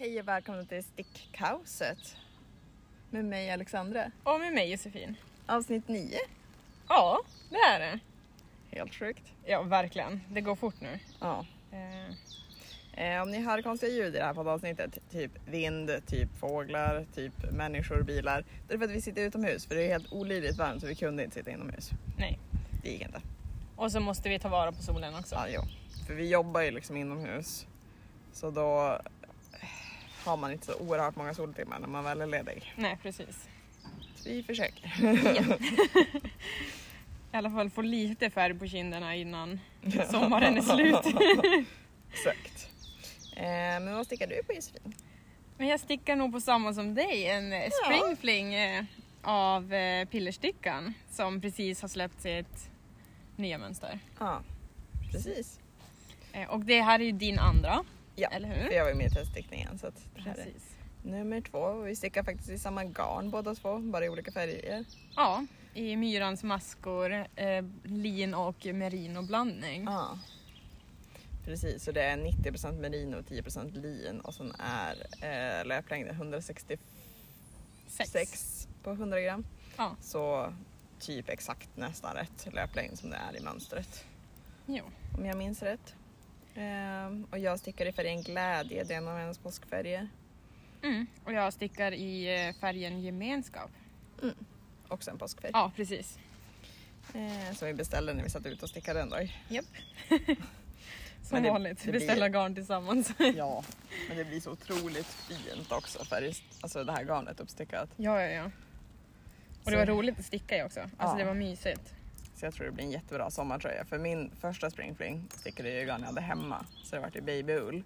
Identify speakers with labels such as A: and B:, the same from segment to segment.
A: och välkomna till Stickkaoset. Med mig Alexandra.
B: Och med mig Josefin.
A: Avsnitt 9.
B: Ja, det är det.
A: Helt sjukt.
B: Ja, verkligen. Det går fort nu.
A: Ja.
B: Eh,
A: Eh, om ni hör konstiga ljud i det här poddavsnittet, typ vind, typ fåglar, typ människor, bilar. Det är för att vi sitter utomhus för det är helt olidligt varmt så vi kunde inte sitta inomhus.
B: nej.
A: Det gick inte.
B: Och så måste vi ta vara på solen också.
A: Ja, jo. För vi jobbar ju liksom inomhus. Så då eh, har man inte så oerhört många soltimmar när man väl är ledig.
B: Nej, precis.
A: Så vi försöker.
B: I alla fall få lite färg på kinderna innan sommaren är slut.
A: Exakt. Eh, men vad stickar du på Josefin?
B: Men jag stickar nog på samma som dig, en eh, springfling eh, av eh, pillerstickan som precis har släppt sitt nya mönster.
A: Ja, precis.
B: Eh, Och det här är ju din andra,
A: Ja,
B: eller
A: för
B: hur?
A: jag var ju med i teststickningen. Så att det här är
B: Precis.
A: nummer två. Vi stickar faktiskt i samma garn båda två, bara i olika färger.
B: Ja, i Myrans maskor, eh, lin och merinoblandning.
A: Ja. Precis, så det är 90% merino och 10% lin och sen är eh, löplängden 166
B: Sex.
A: på 100 gram.
B: Ja,
A: Så typ exakt nästan rätt löplängd som det är i mönstret.
B: jo.
A: om jag minns rätt. Ehm, och jag stickar i färgen glädje, det är en av hennes påskfärger.
B: Mm. Och jag stickar i eh, färgen gemenskap.
A: Också en påskfärg.
B: Ja, precis.
A: Ehm, som vi beställde när vi satt ute och stickade en dag.
B: Japp. Som
A: Men det-
B: vanligt,
A: det blir-
B: beställa garn tillsammans.
A: Ja, men det blir så otroligt fint också färg, alltså det här garnet uppstickat.
B: Ja, ja, ja. Och det
A: Så-
B: var roligt att sticka i också. Alltså
A: Ja.
B: det var mysigt.
A: Så jag tror det blir en jättebra sommartröja. För min första springfling stickade jag i garn jag hade hemma. Så det vart i babyull.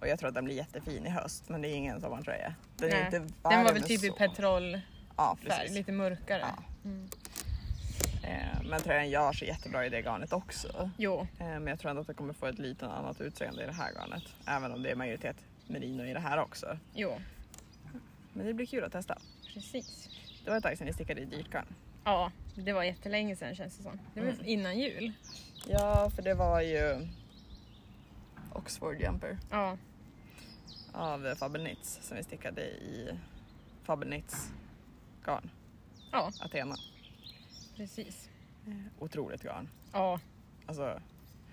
A: Och jag tror att den blir jättefin i höst men det är ingen sommartröja. Den är
B: Nej,
A: inte varm
B: Den var väl typ i
A: så.
B: petrolfärg,
A: Ja, precis.
B: lite mörkare.
A: Ja.
B: Mm.
A: Ehm, Men tröjan gör sig jättebra i det garnet också.
B: Jo,
A: Eh, Men jag tror ändå att det kommer få ett lite annat utseende i det här garnet. Även om det är majoritet merino i det här också.
B: jo,
A: Men det blir kul att testa.
B: precis.
A: Det var ett tag sedan vi stickade i dyrt garn.
B: Ja, det var jättelänge sedan känns det som. Det var
A: Mm.
B: innan jul.
A: Ja, för det var ju Oxford Jumper
B: Ja,
A: av Fabelnitz som vi stickade i Fabelnitz garn,
B: ja
A: Athena. Eh,
B: precis.
A: Otroligt garn.
B: Ja,
A: Alltså,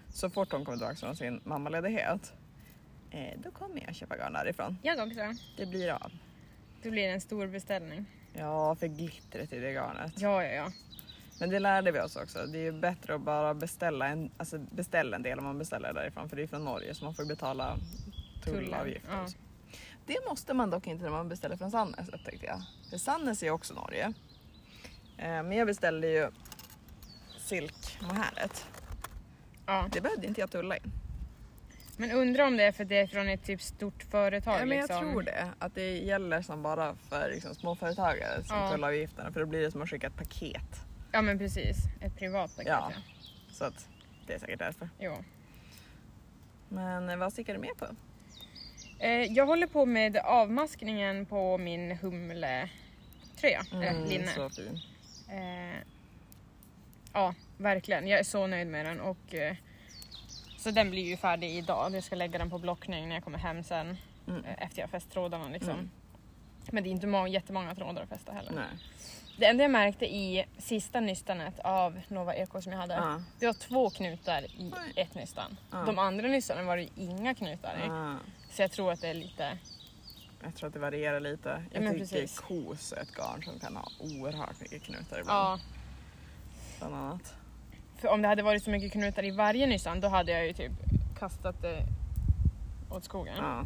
A: så fort hon kommer tillbaka från sin mammaledighet, eh, då kommer jag köpa garn därifrån.
B: jag också.
A: Det blir av.
B: Det blir en stor beställning.
A: Ja, för glittret i det garnet.
B: Ja, ja, ja.
A: Men det lärde vi oss också. Det är ju bättre att bara beställa en, alltså beställa en del om man beställer därifrån för det är från Norge så man får ju betala tullavgift.
B: Ja.
A: och så. Det måste man dock inte när man beställer från Sandnes upptäckte jag. För Sandnes är ju också Norge. Eh, Men jag beställde ju silkmohäret.
B: ja.
A: Det behövde inte jag tulla in.
B: Men undrar om det är för det är från ett typ stort företag.
A: Ja, men jag
B: liksom.
A: tror det. Att det gäller som bara för liksom, småföretagare som
B: Ja.
A: tullavgifterna. För då blir det som att skicka ett paket.
B: Ja men precis, ett privat paket.
A: Ja.
B: Ja.
A: Så att det är säkert därför.
B: Jo.
A: Men eh, vad stickar du med på?
B: Eh, jag håller på med avmaskningen på min humletröja, eller linne.
A: Mm, så fin.
B: Eh, ja, verkligen. Jag är så nöjd med den. Och, eh, så den blir ju färdig idag. Jag ska lägga den på blockning när jag kommer hem sen.
A: Mm.
B: Eh, efter jag fäst trådarna liksom.
A: Mm.
B: Men det är inte må- jättemånga trådar att fästa heller.
A: Nej.
B: Det enda jag märkte i sista nystanet av Nova Eko som jag hade,
A: Ja.
B: det var två knutar i
A: Oj.
B: ett nystan.
A: Ja.
B: De andra nystanen var det ju inga knutar i.
A: Ah,
B: Så jag tror att det är lite...
A: jag tror att det varierar lite. Jag
B: men
A: tycker
B: precis.
A: kos är ett garn som kan ha oerhört mycket knutar ibland.
B: Ja,
A: Bland annat.
B: för om det hade varit så mycket knutar i varje nystan då hade jag ju typ kastat det åt skogen.
A: Ja,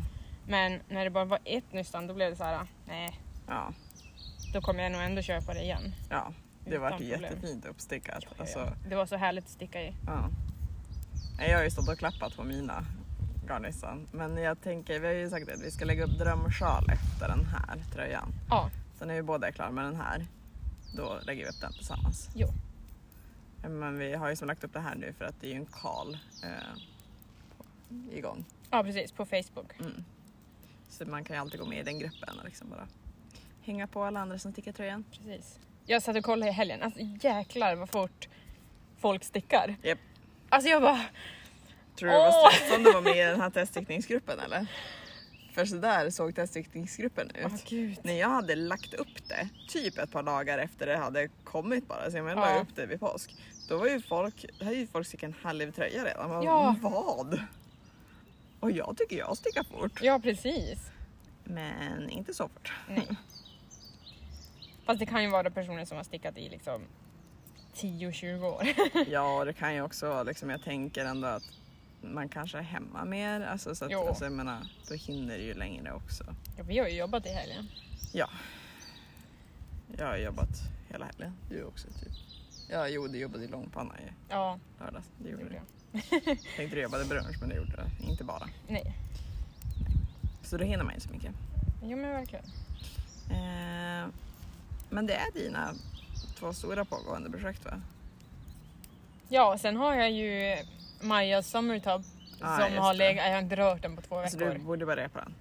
B: Men när det bara var ett nystan då blev det så här, nej,
A: ja,
B: då kommer jag nog ändå köpa det igen.
A: ja. Det var
B: Utan problem.
A: jättefint uppstickat. Alltså,
B: Det var så härligt att sticka i.
A: ja. Nej, Jag har ju stått och klappat på mina garnnystan. Men jag tänker, vi har ju sagt att vi ska lägga upp drömsjal efter den här tröjan.
B: Ja,
A: Sen när vi båda är klara med den här, då lägger vi upp den tillsammans.
B: jo.
A: Men vi har ju som lagt upp det här nu för att det är ju en kal eh, igång.
B: Ja precis, på Facebook.
A: Mm. Så man kan ju alltid gå med i den gruppen och liksom bara hänga på alla andra som stickar tröjan.
B: Precis. Jag satt och kollade i helgen, alltså jäklar vad fort folk stickar.
A: Japp.
B: Alltså jag bara,
A: Tror du det var
B: Åh!
A: stressande att vara med i den här teststickningsgruppen eller? För sådär såg teststickningsgruppen ut.
B: Åh gud.
A: När jag hade lagt upp det, typ ett par dagar efter det hade kommit bara, så jag menar,
B: Ja.
A: la upp det vid påsk. Då var ju folk, hade ju folk stickat en halv tröja redan. Man
B: Ja.
A: bara, Vad? Och jag tycker jag stickar fort.
B: Ja precis.
A: Men inte så fort.
B: Nej. Fast det kan ju vara personer som har stickat i liksom 10-20 år.
A: Ja, det kan ju också vara liksom, jag tänker ändå att man kanske är hemma mer. Alltså, så att,
B: Jo.
A: alltså, jag menar, då hinner det ju längre också.
B: Ja, vi har ju jobbat i helgen.
A: Jag har jobbat hela helgen. Du också typ. Ja, jo, du jobbade i långpanna i
B: Ja,
A: lördags. Det
B: det
A: gjorde
B: gjorde
A: du.
B: jag.
A: Tänkte du jobbade brunch, men det gjorde du inte bara.
B: Nej.
A: Så då hinner man inte så mycket.
B: Jo men verkligen.
A: Eh, men det är dina två stora pågående projekt va?
B: Ja, sen har jag ju Majas Summertop
A: Ja,
B: som
A: Ah, just
B: har
A: det.
B: legat... Jag har inte rört den på två
A: Alltså,
B: veckor.
A: du borde börja på den.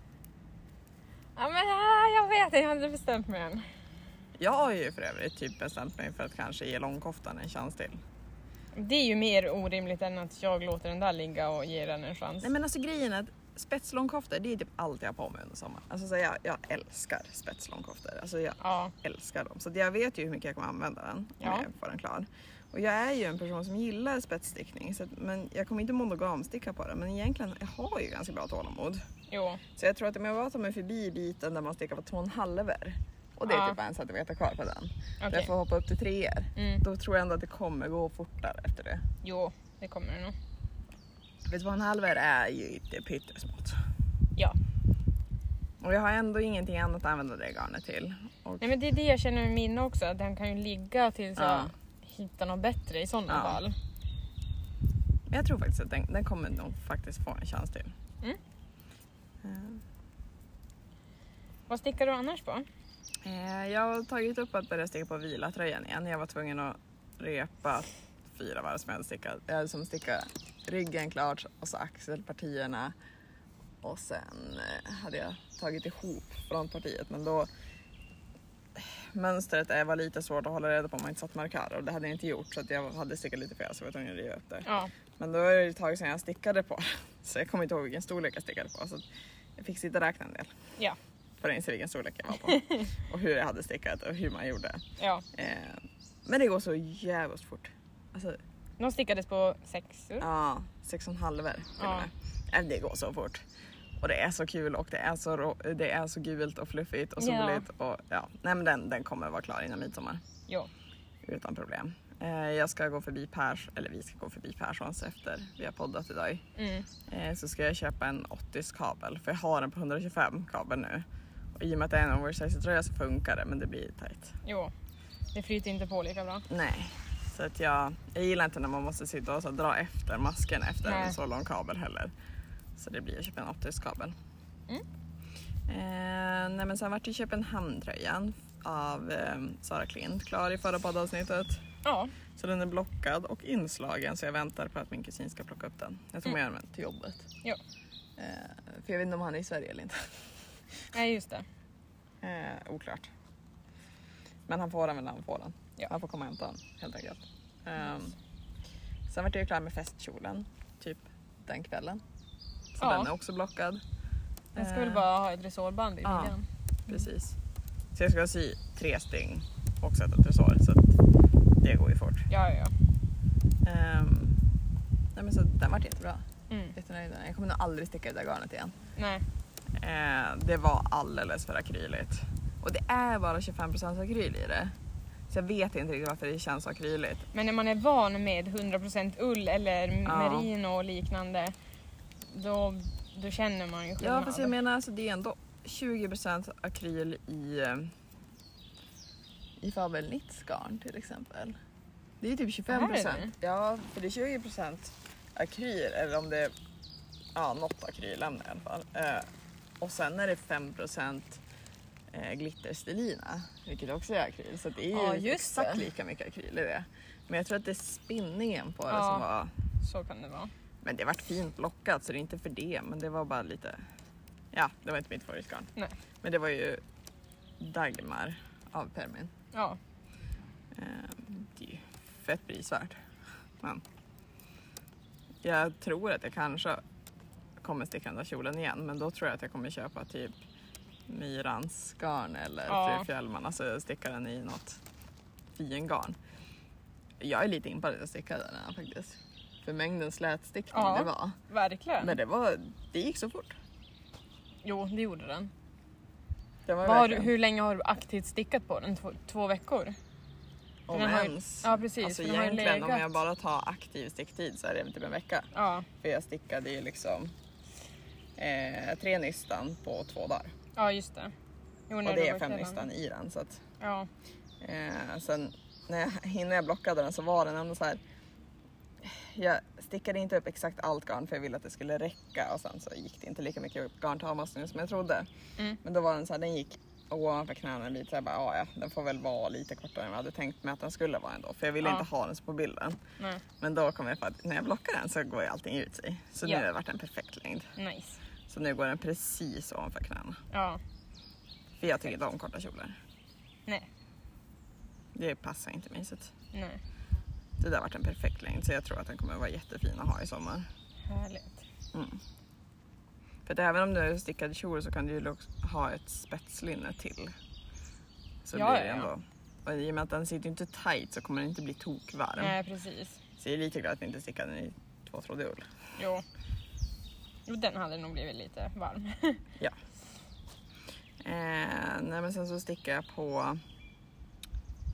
B: Ja men ah, jag vet inte, jag har inte bestämt mig än.
A: Jag har ju för övrigt typ bestämt mig för att kanske ge långkoftan en chans till.
B: Det är ju mer orimligt än att jag låter den där ligga och ger den en chans.
A: Nej men alltså grejen är att spetslångkoftor det är typ allt jag har på mig under sommaren. Alltså så jag, jag älskar spetslångkoftor. Alltså jag
B: Ja,
A: älskar dem. Så att jag vet ju hur mycket jag kommer använda den om
B: Ja.
A: jag får den klar. Och jag är ju en person som gillar spetsstickning så att, men jag kommer inte monogamsticka på den. Men egentligen, jag har ju ganska bra tålamod.
B: jo.
A: Så jag tror att om jag bara tar mig förbi biten där man stickar på två och en halver och det är
B: Ja.
A: typ en centimeter kvar på den.
B: Okej.
A: Jag får hoppa upp till treor.
B: Mm.
A: Då tror jag ändå att det kommer gå fortare efter det.
B: Jo, det kommer det nog.
A: För två och en halver är ju inte pyttesmått.
B: Ja.
A: Och jag har ändå ingenting annat att använda det garnet till. Och,
B: Nej men det är det jag känner med min också, att den kan ju ligga tills jag
A: Ja.
B: hittar något bättre i sådana
A: Ja.
B: fall.
A: men jag tror faktiskt att den, den kommer nog faktiskt få en chans till.
B: Mm.
A: Eh,
B: Vad stickar du annars på?
A: Eh, jag har tagit upp att börja sticka på vilatröjan igen. Jag var tvungen att repa fyra varv som jag hade stickat. Jag hade som stickat ryggen klart och så axelpartierna. Och sen eh, hade jag tagit ihop frontpartiet men då mönstret eh, var lite svårt att hålla reda på om man inte satt markörer och det hade jag inte gjort så att jag hade stickat lite fel så jag var tvungen att riva upp det.
B: Ja,
A: Men då var det ett tag sedan jag stickade på så jag kommer inte ihåg vilken storlek jag stickade på så att jag fick sitta och räkna en del
B: ja,
A: för att inse vilken storlek jag var på och hur jag hade stickat och hur man gjorde.
B: ja.
A: Eh, men det går så jävligt fort. Alltså,
B: De stickades på sexor.
A: ja, sex och en halver till och
B: Ja.
A: med. Eh, Det går så fort. Och det är så kul och det är så, rå- det är så gult och fluffigt och
B: Ja.
A: soligt. Och, ja. Nej, men den, den kommer vara klar innan midsommar
B: Jo.
A: utan problem. Eh, jag ska gå förbi Pers, eller vi ska gå förbi Perssons efter vi har poddat idag.
B: Mm.
A: Eh, så ska jag köpa en 80s kabel för jag har den på 125 kabel nu. Och i och med att det är en oversized tröja så funkar det men det blir tight.
B: jo. Det flyter inte på lika bra.
A: Nej. Så att jag, jag gillar inte när man måste sitta och så dra efter masken efter
B: Nej.
A: en så lång kabel heller. Så det blir att köpa en optisk kabel.
B: Mm.
A: Eh, nej men sen vart det Köpenhamn-tröjan av eh, Sara Klint klar i förra poddavsnittet.
B: Ja,
A: Så den är blockad och inslagen så jag väntar på att min kusin ska plocka upp den. Jag tror man gör den till jobbet.
B: Mm. Ja.
A: Eh, för jag vet inte om han är i Sverige eller inte.
B: nej just det.
A: Eh, oklart. Men han får den väl när han får den.
B: Ja.
A: Han får komma och hämta den helt enkelt. Ehm, Sen vart jag ju klar med festkjolen, typ den kvällen. Så
B: Ja.
A: den är också blockad.
B: Jag ska
A: Eh,
B: väl bara ha ett resårband i
A: ja.
B: midjan.
A: Precis. Så jag ska sy tre stygn och sätta tresor så att det går ju fort.
B: Ja, ja,
A: Ehm, nej men så den vart jättebra.
B: ja. Mm.
A: Jättenöjd med den. Jag kommer nog aldrig sticka i det där garnet igen.
B: Nej.
A: Eh, det var alldeles för akryligt. Och det är bara 25% akryl i det. Så jag vet inte riktigt varför det känns så akryligt.
B: Men när man är van med 100% ull eller
A: Ja.
B: merino och liknande då, då känner man ju skillnad.
A: Ja fast jag menar alltså det är ändå 20% akryl i, eh, i Fabel Nitts garn till exempel. Det är typ 25%.
B: Är det?
A: Ja för det är 20% akryl eller om det är ja, något akrylämne i alla fall. Eh, och sen är det 5% eh, glitterstelina vilket också är akryl så att det är ju
B: Ja, just
A: exakt
B: det.
A: lika mycket akryl i det. Men jag tror att det är spinningen på det
B: Ja.
A: som var
B: Så kan det vara.
A: men det vart fint blockat så det är inte för det men det var bara lite Ja, det var inte mitt favoritgarn.
B: Nej.
A: Men det var ju Dagmar av Permin.
B: Ja,
A: Ehm, Det är ju fett prisvärt. Men jag tror att jag kanske kommer sticka den där kjolen igen men då tror jag att jag kommer köpa typ Myrans garn eller
B: Ja.
A: Fru Fjällman, alltså sticka den i något fingarn. Jag är lite impad att jag stickade den här faktiskt. För mängden slätstickning
B: Ja.
A: det var.
B: Verkligen.
A: Men det, var, det gick så fort.
B: Jo, det gjorde den.
A: Det var
B: Vad har du,
A: verkligen-
B: hur länge har du aktivt stickat på den? Två, två veckor?
A: Om
B: den har ju-
A: ens.
B: Ja precis.
A: Alltså
B: för den har ju
A: egentligen om
B: legat-
A: jag bara tar aktiv sticktid så är det typ en vecka.
B: Ja,
A: För jag stickade ju liksom eh, tre nystan på två dagar.
B: ja just det. Jo, när
A: Och
B: du
A: det är
B: var
A: fem
B: klädd.
A: nystan i den. Så att,
B: Ja,
A: eh, sen när jag, innan jag blockade den så var den ändå så här. Jag stickade inte upp exakt allt garn för jag ville att det skulle räcka och sen så gick det inte lika mycket garn till avmaskning som jag trodde.
B: Mm.
A: Men då var den så här, den gick ovanför knäna lite så jag bara, "Ah, "Ja, ja, den får väl vara lite kortare än vad jag hade tänkt mig att den skulle vara ändå. För jag ville
B: Ja.
A: inte ha den så på bilden.
B: nej,
A: Men då kom jag på att när jag blockar den så går ju allting ut sig. Så
B: Ja.
A: nu har det varit en perfekt längd.
B: nice.
A: Så nu går den precis ovanför knäna.
B: Ja,
A: För jag tycker inte om korta kjolar.
B: nej,
A: Det passar inte mig. Så att
B: nej.
A: det där har varit en perfekt längd så jag tror att den kommer vara jättefin att ha i sommar.
B: Härligt.
A: Mm. För att även om du är stickad kjol så kan du ju lo- ha ett spetslinne till. Så
B: Ja,
A: blir det
B: ja, ja.
A: ändå. Och i och med att den sitter ju inte tight så kommer den inte bli tokvarm.
B: Nej, precis.
A: Så jag är lite glad att jag inte stickade den i tvåtrådig ull.
B: Jo. Jo, den hade nog blivit lite varm.
A: Eh, nej men sen så stickar jag på...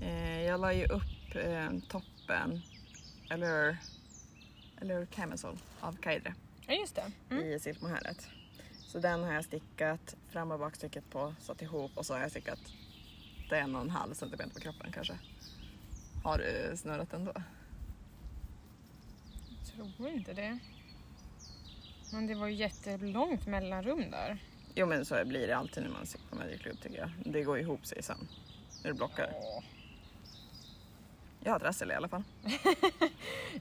A: Eh, jag la ju upp eh, toppen, eller eller hur, camisole av Kaidre
B: Ja, just det. Mm.
A: i silkmohälet. Så den har jag stickat fram och bakstycket på, satt ihop och så har jag stickat det är en och en halv centimeter på kroppen kanske. Har du snurrat den då?
B: Jag tror inte det. Men det var ju jättelångt mellanrum där.
A: Jo men så blir det alltid när man stickar med Magic Loop tycker jag. Det går ihop sig sen när du blockar.
B: Åh.
A: Jag har trassel i alla fall.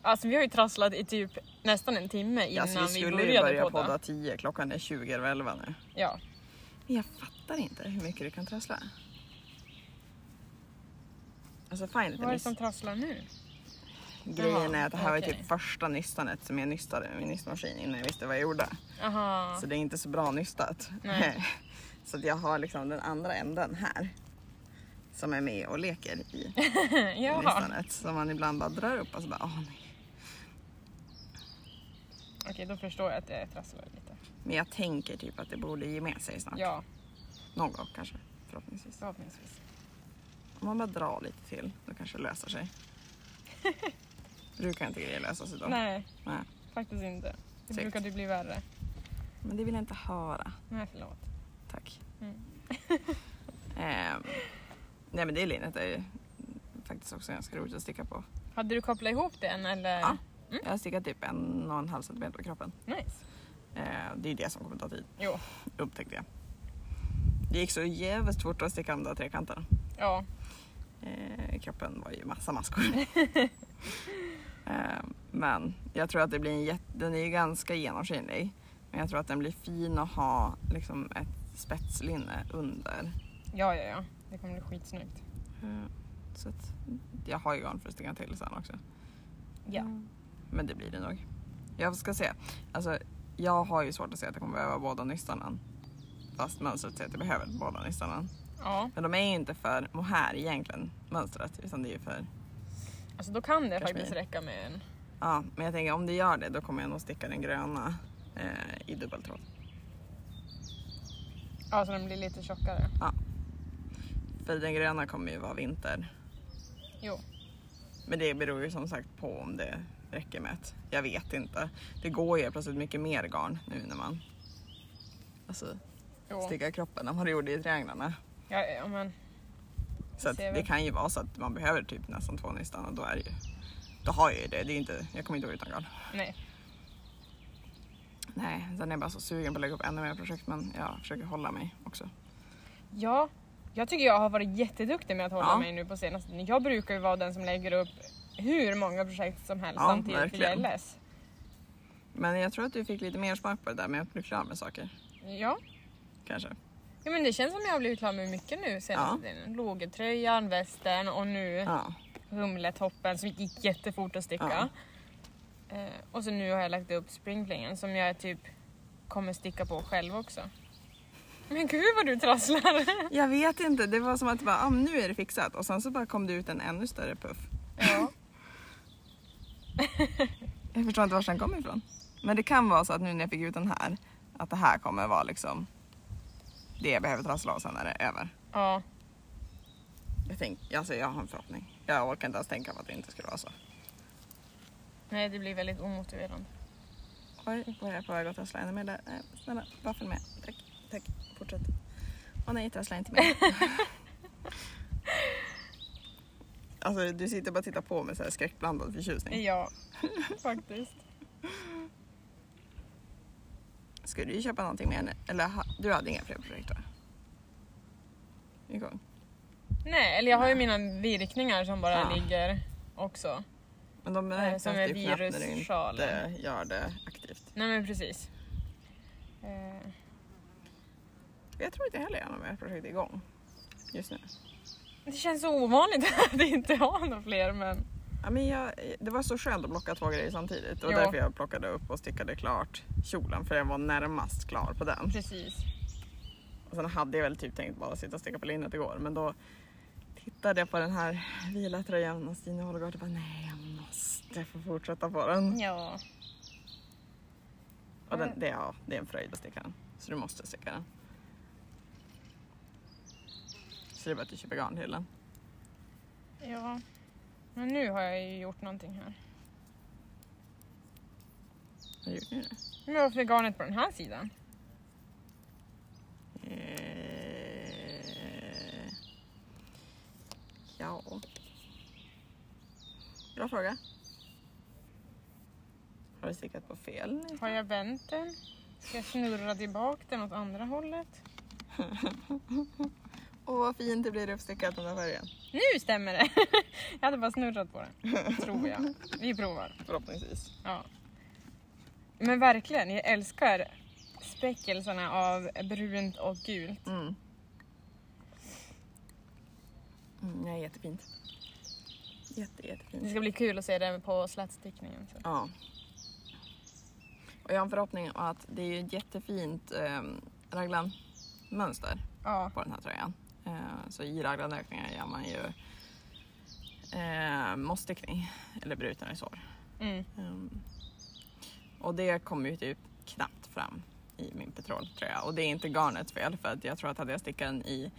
B: Alltså vi har ju trasslat i typ nästan en timme innan
A: Alltså, vi
B: vi,
A: skulle ju
B: började
A: börja
B: podda.
A: podda 10, klockan är 20 över 11 nu.
B: Ja,
A: Men jag fattar inte hur mycket du kan trassla. Alltså fine,
B: vad är det som
A: nyss-
B: trasslar nu?
A: grejen är att det här var
B: okej.
A: ju typ första nystanet som jag nystade med min nystmaskin innan jag visste vad jag gjorde.
B: Aha.
A: Så det är inte så bra nystat.
B: Nej.
A: så att jag har liksom den andra änden här. Som är med och leker i
B: ja.
A: nystanet. Som man ibland bara drar upp och så bara åh nej.
B: Okej, då förstår jag att det trasslar lite.
A: Men jag tänker typ att det borde ge med sig snart.
B: Ja,
A: Någon gång kanske, förhoppningsvis.
B: förhoppningsvis.
A: Om man bara drar lite till, då kanske det löser sig. Brukar inte grejer lösa sig då.
B: Nej,
A: Nej.
B: faktiskt inte. Det
A: Segt.
B: brukar du bli värre.
A: Men det vill jag inte höra.
B: Nej, förlåt.
A: Tack.
B: Mm.
A: Ehm, nej men det linnet är ju faktiskt också ganska roligt att sticka på.
B: Hade du kopplat ihop den eller?
A: Ja. Jag har stickat typ en och en halv centimeter på kroppen.
B: Nice.
A: Ehm, det är ju det som kommer ta tid,
B: Jo,
A: upptäckte jag. Det gick så jävligt fort att sticka de där trekanterna.
B: ja.
A: Eh, kroppen var ju massa maskor. eh, men jag tror att det blir en jätte, den är ju ganska genomskinlig. Men jag tror att den blir fin att ha liksom ett spetslinne under.
B: Ja, ja, ja. Det kommer bli skitsnyggt.
A: Eh, så att jag har ju garn för att sticka till sen också.
B: Ja.
A: Men det blir det nog. Jag ska se. Alltså, jag har ju svårt att se att jag kommer behöva båda nystanen. Fast mönstret säger att jag behöver båda nystanen.
B: Ja,
A: Men de är ju inte för mohair egentligen, mönstret. Utan det är ju för
B: alltså då kan det
A: Kashmir.
B: faktiskt räcka med en.
A: Ja, men jag tänker om det gör det då kommer jag nog sticka den gröna eh, i dubbeltråd.
B: Ja, så Alltså den blir lite tjockare.
A: För den gröna kommer ju vara vinter.
B: Jo.
A: Men det beror ju som sagt på om det räcker med ett. Jag vet inte. Det går ju plötsligt mycket mer garn nu när man alltså,
B: jo.
A: stickar kroppen än vad det gjorde i trianglarna.
B: Ja, ja, men
A: Så att
B: ser
A: det
B: väl.
A: kan ju vara så att man behöver typ nästan två nystan och då är det ju. Då har jag ju det. det är inte, jag kommer inte gå utan garn.
B: nej.
A: Nej, sen är jag bara så sugen på att lägga upp ännu mer projekt men jag försöker hålla mig också.
B: Ja, jag tycker jag har varit jätteduktig med att hålla
A: Ja.
B: mig nu på senaste tiden. Jag brukar ju vara den som lägger upp hur många projekt som helst
A: Ja,
B: samtidigt för jag är
A: verkligen.
B: less.
A: Men jag tror att du fick lite mer smak på det där med att bli klar med saker.
B: Ja.
A: Kanske.
B: ja, men det känns som jag har blivit klar med mycket nu senaste tiden. Lågetröjan, västen och nu
A: Ja.
B: humletoppen som gick jättefort att sticka. Eh, och så nu har jag lagt upp springflingen som jag är typ kommer sticka på själv också. Men gud vad du trasslar!
A: Jag vet inte, det var som att bara, ah, men nu är det fixat och sen så bara kom det ut en ännu större puff.
B: Ja.
A: Jag förstår inte var den kom ifrån. Men det kan vara så att nu när jag fick ut den här, att det här kommer vara liksom det jag behöver trassla av sen när det är över.
B: ja.
A: Jag, tänk, alltså jag har en förhoppning. Jag orkar inte ens tänka på att det inte skulle vara så.
B: Nej, det blir väldigt omotiverande.
A: Oj, var jag på väg att trassla ännu mer där? Nej, eh, snälla, vaffel med. Tack, tack. Fortsätt. Åh nej, trassla inte mer. alltså du sitter bara och tittar på med så här skräckblandad förtjusning.
B: Ja, faktiskt.
A: Ska du köpa någonting mer nu? Eller ha- du hade inga fler projekt va? Igång.
B: Nej, eller jag har ju mina virkningar som bara
A: Ja.
B: ligger också.
A: Men de
B: Eh,
A: märks
B: som är
A: typ knappt när du
B: virussjalen.
A: inte gör det aktivt.
B: Nej men precis. Eh,
A: Jag tror inte heller jag har några mer projekt igång just nu.
B: Det känns så ovanligt att inte ha några fler men...
A: Ja, men jag, det var så skönt att plocka två grejer samtidigt. Och
B: Ja.
A: därför jag plockade upp och stickade klart kjolen för jag var närmast klar på den.
B: Precis.
A: Och sen hade jag väl typ tänkt bara sitta och sticka på linnet igår men då tittade jag på den här vila tröjan och Stina Holgård och bara nej jag måste få fortsätta på den.
B: Ja.
A: Och den, det, är- ja, det är en fröjd att sticka den. Så du måste sticka den. Så det är bara att du köper garn till den.
B: Ja. Men nu har jag ju gjort någonting här.
A: Har du gjort nu det?
B: Men varför är garnet på den här sidan?
A: Eh, Ja. Bra fråga. Har du stickat på fel?
B: Har jag vänt den? Ska jag snurra tillbaka den åt andra hållet?
A: Åh vad fint det blir uppstickat den där färgen.
B: Nu stämmer det! Jag hade bara snurrat på den. Tror jag. Vi provar.
A: Förhoppningsvis.
B: Ja. Men verkligen, jag älskar späckelserna av brunt och gult.
A: Mm. Mm, ja, jättefint. Jätte, jättefint.
B: Det ska bli kul att se det på slätstickningen. sen.
A: Ja. Och jag har en förhoppning om att det är ju ett jättefint eh, raglanmönster
B: Ja.
A: på den här tröjan. Eh, så i raglanökningar gör man ju eh, mossstickning eller bruten resår.
B: Mm.
A: Ehm, och det kommer ju typ knappt fram i min petroltröja. Och det är inte garnets fel för att jag tror att hade jag stickat den i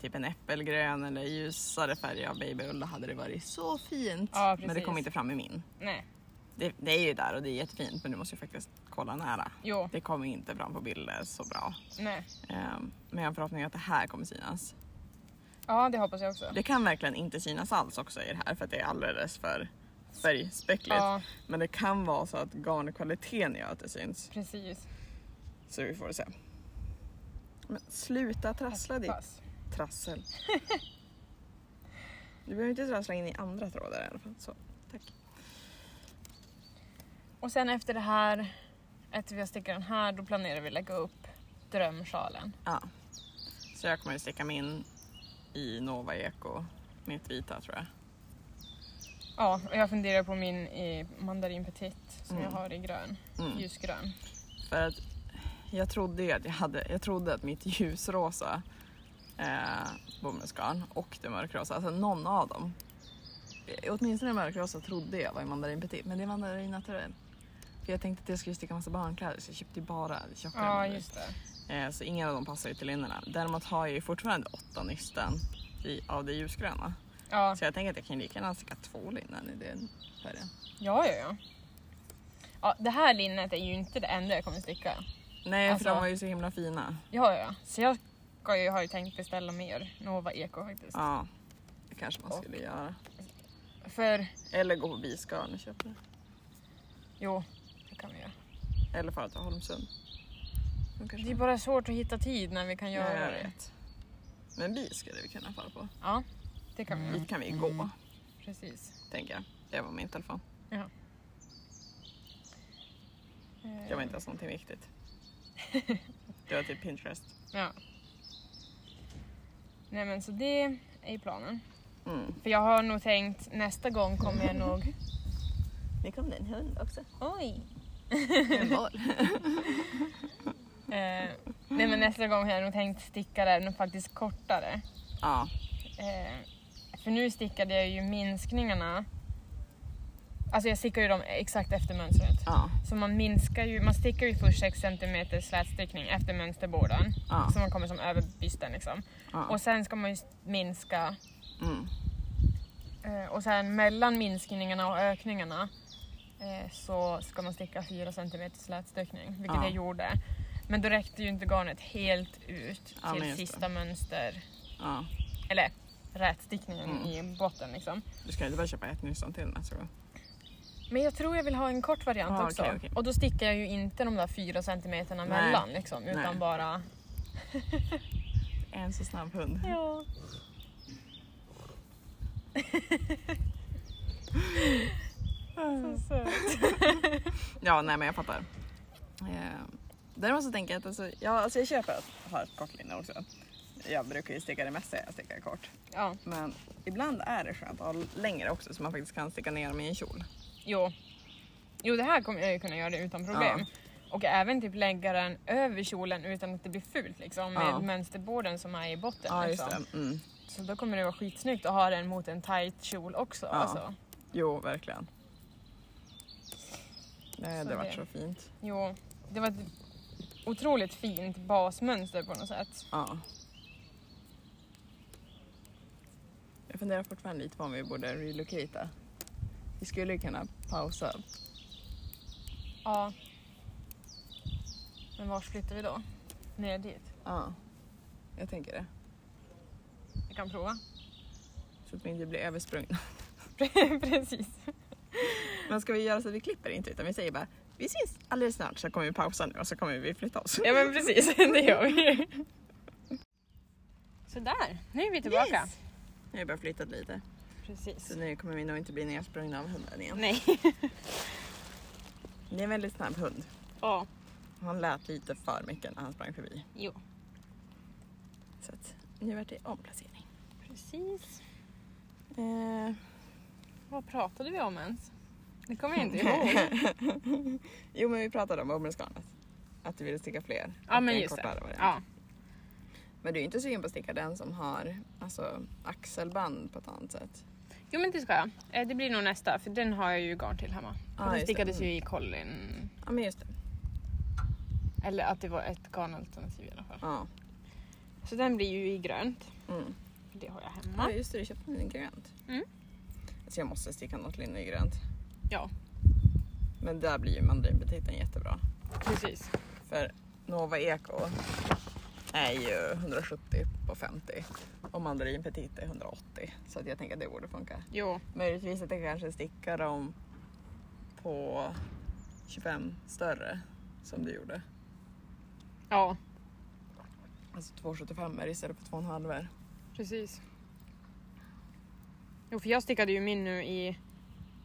A: typ en äppelgrön eller ljusare färg av babyull då hade det varit så fint.
B: Ja,
A: men det
B: precis.
A: kom inte fram i min.
B: Nej.
A: Det, det är ju där och det är jättefint men du måste ju faktiskt kolla nära.
B: Jo.
A: Det kommer inte fram på bilder så bra.
B: Nej.
A: Ehm, men jag har en förhoppning att det här kommer synas.
B: Ja, det hoppas jag också.
A: Det kan verkligen inte synas alls också i det här för att det är alldeles för färgspäckligt.
B: Ja,
A: Men det kan vara så att garnkvaliteten gör att det syns.
B: precis.
A: Så vi får se. Men sluta trassla ditt
B: Pass.
A: trassel. Du behöver inte trassla in i andra trådar i alla fall. Så, tack.
B: Och sen efter det här, efter vi har stickat den här, då planerar vi lägga upp drömsjalen.
A: Ja. Så jag kommer ju sticka min i Nova Eko, mitt vita tror jag.
B: Ja, och jag funderar på min i mandarin petit som
A: Mm.
B: jag har i grön,
A: Mm.
B: ljusgrön.
A: För att jag trodde ju att jag hade, jag trodde att mitt ljusrosa eh, bomullsgarn och det mörkrosa, alltså någon av dem. Eh, Åtminstone det mörkrosa trodde jag var i mandarin petit, men det är mandarin naturell. För jag tänkte att jag skulle sticka massa barnkläder så jag köpte ju bara tjockare
B: Ja,
A: mandarin.
B: just det.
A: eh, Så ingen av dem passar ju till linnena. Däremot har jag ju fortfarande åtta nystan i, av det ljusgröna.
B: Ja,
A: Så jag tänker att jag kan lika gärna sticka två linnen i den färgen.
B: ja, ja. ja. Ja, det här linnet är ju inte det enda jag kommer sticka.
A: Nej,
B: Alltså-
A: för de var ju så himla fina.
B: Ja, ja, ja. Så jag ska ju, har ju tänkt beställa mer Nova Eko faktiskt.
A: Ja, det kanske man
B: Och-
A: skulle göra.
B: För,
A: Eller gå på Bisgarn och köpa det.
B: jo, det kan vi göra.
A: Eller fara till Holmsund. De kanske
B: Det är bara svårt att hitta tid när vi kan
A: Ja,
B: göra
A: jag
B: det.
A: vet. Men bi skulle vi kunna fara på.
B: Ja, det kan vi göra.
A: Dit kan vi gå,
B: Precis.
A: tänker jag. Det var min telefon. Det
B: Eh,
A: var inte ens någonting viktigt. Det var typ Pinterest.
B: Ja. Nej men så det är ju planen.
A: Mm.
B: För jag har nog tänkt nästa gång kommer jag nog...
A: Nu kom det en hund också.
B: Oj!
A: En boll.
B: Eh, nej men nästa gång har jag nog tänkt sticka den faktiskt kortare.
A: Ja,
B: Eh, för nu stickade jag ju minskningarna. Alltså jag stickar ju dem exakt efter mönstret.
A: ja,
B: Så man minskar ju, man stickar ju först 6 cm slätstickning efter mönsterborden.
A: ja.
B: Så man kommer som över bysten liksom.
A: ja.
B: Och sen ska man ju minska.
A: Mm.
B: Eh, och sen mellan minskningarna och ökningarna eh, så ska man sticka 4 cm slätstickning, vilket
A: Ja.
B: jag gjorde. Men då räckte ju inte garnet helt ut
A: Ja, men
B: till
A: just det.
B: sista mönster,
A: ja.
B: eller rätstickningen
A: Mm.
B: i botten liksom.
A: Du ska inte bara köpa ett nystan till nästa gång?
B: Men jag tror jag vill ha en kort variant
A: Ah,
B: också.
A: okej, okej.
B: Och då stickar jag ju inte de där fyra centimeterna
A: Nej.
B: mellan liksom, utan
A: Nej.
B: bara...
A: En så snabb hund.
B: Ja. Så söt.
A: Ja, nej men jag fattar. Eh, däremot så tänker jag att alltså, jag, alltså jag köper att ha ett kort linne också. Jag brukar ju sticka det mesta jag stickar kort.
B: Ja,
A: Men ibland är det skönt att ha längre också så man faktiskt kan sticka ner dem i en kjol.
B: jo. Jo, det här kommer jag ju kunna göra utan problem.
A: Ja.
B: Och även typ lägga den över kjolen utan att det blir fult liksom med
A: Ja.
B: mönsterborden som är i botten.
A: Ja, just
B: liksom.
A: det. Mm.
B: Så då kommer det vara skitsnyggt att ha den mot en tight kjol också.
A: Ja.
B: Alltså.
A: Jo, verkligen. Nej,
B: Så
A: det
B: det-
A: vart så fint.
B: Jo, det var ett otroligt fint basmönster på något sätt.
A: Ja. Jag funderar fortfarande lite på om vi borde relocata. Vi skulle ju kunna pausa.
B: Ja. Men vart flyttar vi då? Ner dit?
A: Ja, jag tänker det.
B: Vi kan prova.
A: Så att vi inte blir översprungna.
B: Precis.
A: Men ska vi göra så att vi klipper inte utan vi säger bara vi syns alldeles snart så kommer vi pausa nu och så kommer vi flytta oss.
B: Ja men precis, det gör vi. Sådär, nu är vi tillbaka.
A: Yes. Nu har jag bara flyttat lite.
B: Precis.
A: Så nu kommer vi nog inte bli nersprungna av hunden igen.
B: Nej.
A: Det är en väldigt snabb hund.
B: Ja,
A: Han lät lite för mycket när han sprang förbi.
B: jo.
A: Så att nu vart det omplacering.
B: Precis.
A: Eh,
B: Vad pratade vi om ens? Det kommer jag inte ihåg.
A: jo men vi pratade om bomullsgarnet. Att du ville sticka fler.
B: Ja
A: och
B: men
A: en
B: just
A: kortare
B: det.
A: variant.
B: Ja.
A: Men du är inte sugen på att sticka den som har alltså, axelband på ett annat sätt?
B: Jo men det ska jag. Eh, Det blir nog nästa för den har jag ju garn till hemma.
A: Ja, just
B: den
A: det. Mm.
B: stickades ju i Collin.
A: Ja men just det.
B: Eller att det var ett garnalternativ i alla fall.
A: Ja.
B: Så den blir ju i grönt.
A: Mm.
B: Det har jag
A: Ja
B: hemma.
A: just det, du köpte den i grönt.
B: Mm.
A: Alltså jag måste sticka något linne i grönt.
B: Ja,
A: Men där blir ju mandarinbetiten jättebra.
B: precis.
A: För Nova Eco är ju 170 på 50 och mandarin petit är 180. Så att jag tänker att det borde funka.
B: Jo,
A: Möjligtvis att jag kanske stickar dem på 25 större som du gjorde.
B: ja,
A: Alltså 275 istället för 2,5.
B: precis. Jo, för jag stickade ju min nu i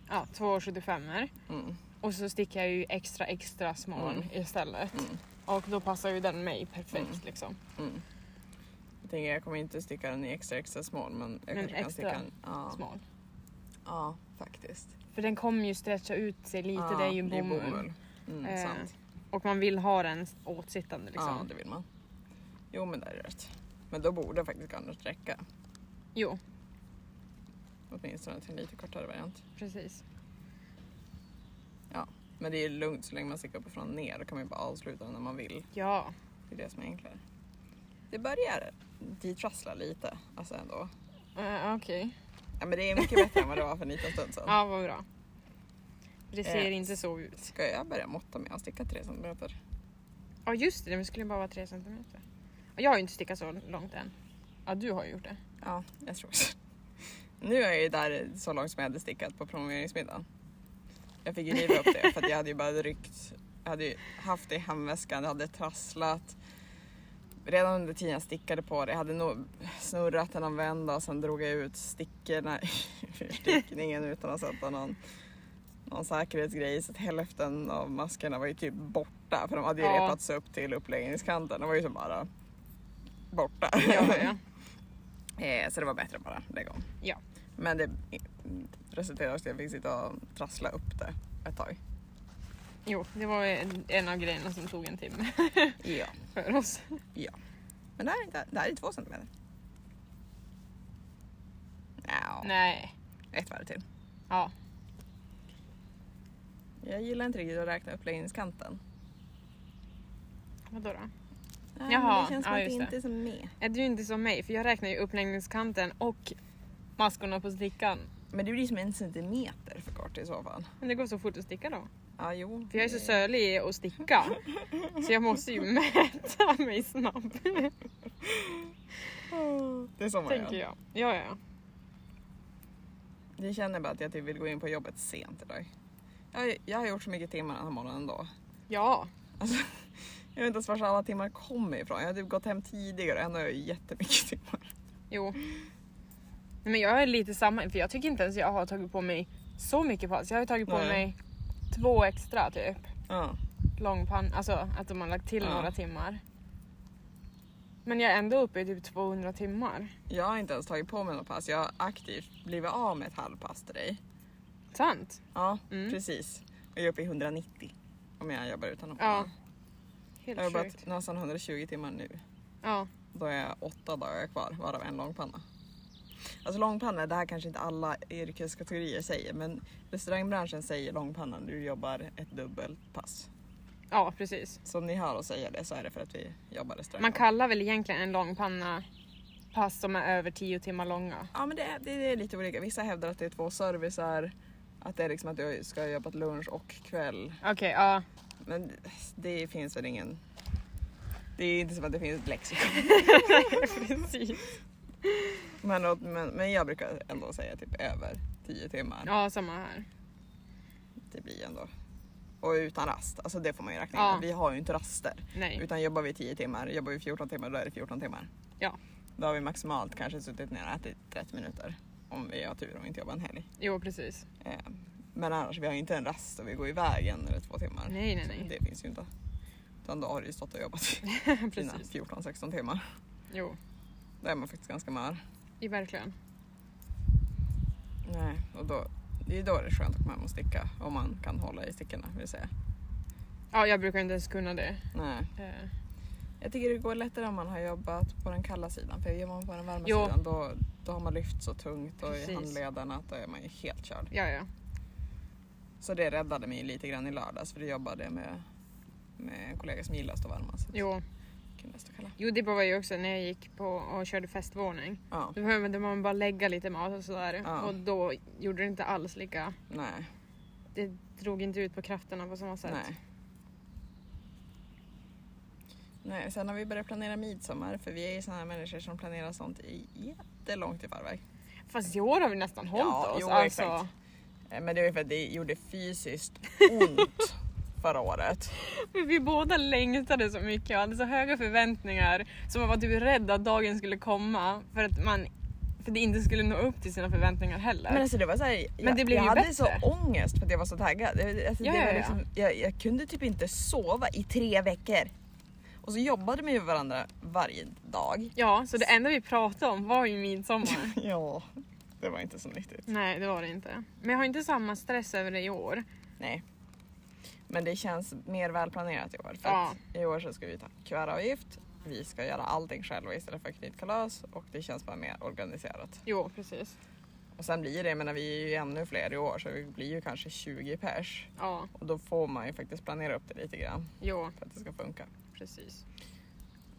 B: ja, 2,75
A: Mm.
B: och så stickar jag ju extra extra smal
A: Mm.
B: istället.
A: Mm.
B: Och då passar ju den mig perfekt
A: Mm.
B: liksom.
A: Mm. Jag tänker jag kommer inte sticka den i extra extra smal men jag
B: Men
A: kanske kan
B: extra
A: sticka en. Ja,
B: Smal.
A: ja faktiskt.
B: För den kommer ju stretcha ut sig lite,
A: ja,
B: det är ju bomull.
A: Mm,
B: Eh,
A: sant.
B: Och man vill ha den
A: Ja
B: åtsittande liksom.
A: det vill man. Jo men det är rätt. Men då borde faktiskt garnet räcka.
B: Jo,
A: Åtminstone till en lite kortare variant.
B: precis.
A: Men det är lugnt så länge man sticker uppifrån och ner. Då kan man ju bara avsluta den när man vill.
B: Ja,
A: Det är det som är enklare. Det börjar detrassla lite. Alltså ändå.
B: uh, okej.
A: Ja, men det är mycket bättre än vad det var för en liten stund sedan.
B: Ja, vad bra. Det ser
A: Eh,
B: inte så ut.
A: Ska jag börja måtta med att sticka 3 cm?
B: Ja just det, det skulle bara vara 3 cm. Jag har ju inte stickat så långt än. Ja du har ju gjort det.
A: Ja, jag tror det. Nu är jag ju där så långt som jag hade stickat på promoveringsmiddagen. Jag fick ju riva upp det för att jag hade ju bara ryckt. Jag hade ju haft det i handväskan, det hade trasslat. Redan under tiden jag stickade på det, jag hade nog snurrat den en vända och sen drog jag ut stickorna ur stickningen utan att sätta någon, någon säkerhetsgrej. Så att hälften av maskerna var ju typ borta för de hade ju
B: Ja.
A: repats upp till uppläggningskanten. De var ju så bara borta.
B: Ja, ja.
A: Eh, så det var bättre att bara lägga om.
B: Ja.
A: Men det mm, resulterade i att jag fick sitta och trassla upp det ett tag.
B: Jo, det var en- en av grejerna som tog en timme
A: Ja.
B: för oss.
A: Men det här, är inte- det här är två centimeter. Nja,
B: Nej.
A: ett varv till.
B: Ja.
A: Jag gillar inte riktigt att räkna uppläggningskanten.
B: Vadå då?
A: Nej, men
B: Jaha,
A: det känns som
B: ja,
A: att det
B: just
A: inte
B: det.
A: är som med.
B: Är du inte som mig? För jag räknar ju uppläggningskanten och maskorna på stickan.
A: Men det blir som en centimeter för kort i så fall.
B: Men det går så fort att sticka då.
A: Ja, jo.
B: För jag är så
A: det-
B: sölig i att sticka. Så jag måste ju mäta mig
A: Oh
B: snabb.
A: Det är så man
B: Tänker
A: gör.
B: jag. Ja, ja, ja.
A: Jag känner bara att jag typ vill gå in på jobbet sent idag. Jag, jag har gjort så mycket timmar den här morgonen ändå.
B: Ja.
A: Alltså, Jag vet inte ens var alla timmar kommer ifrån. Jag har typ gått hem tidigare och ändå har jag jättemycket timmar.
B: Jo. Nej, men jag är lite samma, för jag tycker inte ens jag har tagit på mig så mycket pass. Jag har ju tagit på
A: Nej.
B: mig två extra typ.
A: Ja.
B: Långpann, alltså att de har lagt till
A: Ja.
B: några timmar. Men jag är ändå uppe i typ 200 timmar.
A: Jag har inte ens tagit på mig något pass. Jag har aktivt blivit av med ett halvpass till dig.
B: Sant?
A: Ja,
B: Mm.
A: precis. Och jag är uppe i 190 om jag jobbar utan någon.
B: Ja.
A: jag har
B: Helt sjukt.
A: jobbat nästan 120 timmar nu.
B: Ja.
A: Då är jag åtta dagar kvar, varav en långpanna. Alltså långpanna, det här kanske inte alla yrkeskategorier säger men restaurangbranschen säger långpanna när du jobbar ett dubbelt pass.
B: ja, precis.
A: Så om ni hör oss säga det så är det för att vi jobbar restaurang.
B: Man kallar väl egentligen en långpanna pass som är över 10 timmar långa.
A: Ja men det är, det är lite olika. Vissa hävdar att det är två servicer, att det är liksom att du ska ha jobbat lunch och kväll.
B: Okej, ja.
A: Men det finns väl ingen... Det är inte som att det finns ett lexikon.
B: Precis.
A: Men, åt- men, men jag brukar ändå säga typ över 10 timmar.
B: Ja, samma här.
A: Det blir ändå. Och utan rast, alltså det får man ju räkna in.
B: Ja.
A: Vi har ju inte raster.
B: Nej.
A: Utan jobbar vi 10 timmar, jobbar vi 14 timmar, då är det 14 timmar.
B: Ja.
A: Då har vi maximalt kanske suttit ner och ätit 30 minuter. Om vi har tur och inte jobbar en helg.
B: Jo, precis.
A: Eh, Men annars, vi har ju inte en rast och vi går iväg en eller två timmar.
B: Nej, nej,
A: Så
B: nej.
A: Det finns ju inte. Utan då har du ju stått och jobbat i dina
B: precis.
A: 14-16 timmar.
B: Jo,
A: Då är man faktiskt ganska mör.
B: i verkligen.
A: Nej, och då, det är ju då det är skönt att komma hem och sticka. Om man kan hålla i stickorna vill säga.
B: Ja, jag brukar inte ens kunna det.
A: Nej.
B: Eh,
A: Jag tycker det går lättare om man har jobbat på den kalla sidan. För jobbar man på den varma
B: Jo.
A: sidan då, då har man lyft så tungt och i
B: Precis.
A: handlederna att då är man ju helt körd.
B: Ja, ja.
A: Så det räddade mig lite grann i lördags för då jobbade jag med, med en kollega som gillar att stå varma. Så
B: Jo,
A: kunde jag stå kalla.
B: jo det var ju också när jag gick på och körde festvåning.
A: Ja,
B: Då behövde man bara lägga lite mat och sådär.
A: Ja.
B: Och då gjorde det inte alls lika...
A: nej,
B: Det drog inte ut på krafterna på samma sätt.
A: nej. Nej, sen har vi börjat planera midsommar för vi är ju sådana här människor som planerar sånt i jättelångt i förväg.
B: Fast i år har vi nästan hållit
A: Ja,
B: oss.
A: jo,
B: alltså.
A: exakt. Eh, Men det är ju för att det gjorde fysiskt ont förra året.
B: Men Vi båda längtade så mycket och hade så höga förväntningar. Så man var typ rädd att dagen skulle komma för att man för det inte skulle nå upp till sina förväntningar heller.
A: Men alltså det var så här,
B: Men det
A: jag,
B: blev
A: jag
B: ju
A: hade
B: bättre.
A: så ångest för att jag var så taggad. Det- Alltså,
B: Ja,
A: det
B: ja,
A: var
B: ja.
A: liksom, jag, jag kunde typ inte sova i tre veckor. Och så jobbade vi med varandra varje dag.
B: Ja, så det enda vi pratade om var ju midsommar.
A: Ja, det var inte så nyttigt.
B: Nej, det var det inte. Men jag har inte samma stress över det i år.
A: Nej. Men det känns mer välplanerat i år. För
B: Ja.
A: att i år så ska vi ta kuvertavgift. Vi ska göra allting själva istället för knytkalas och det känns bara mer organiserat.
B: Jo, precis.
A: Och sen blir det, jag menar vi är ju ännu fler i år så vi blir ju kanske 20 pers.
B: Ja,
A: Och då får man ju faktiskt planera upp det lite grann
B: jo,
A: för att det ska funka.
B: precis.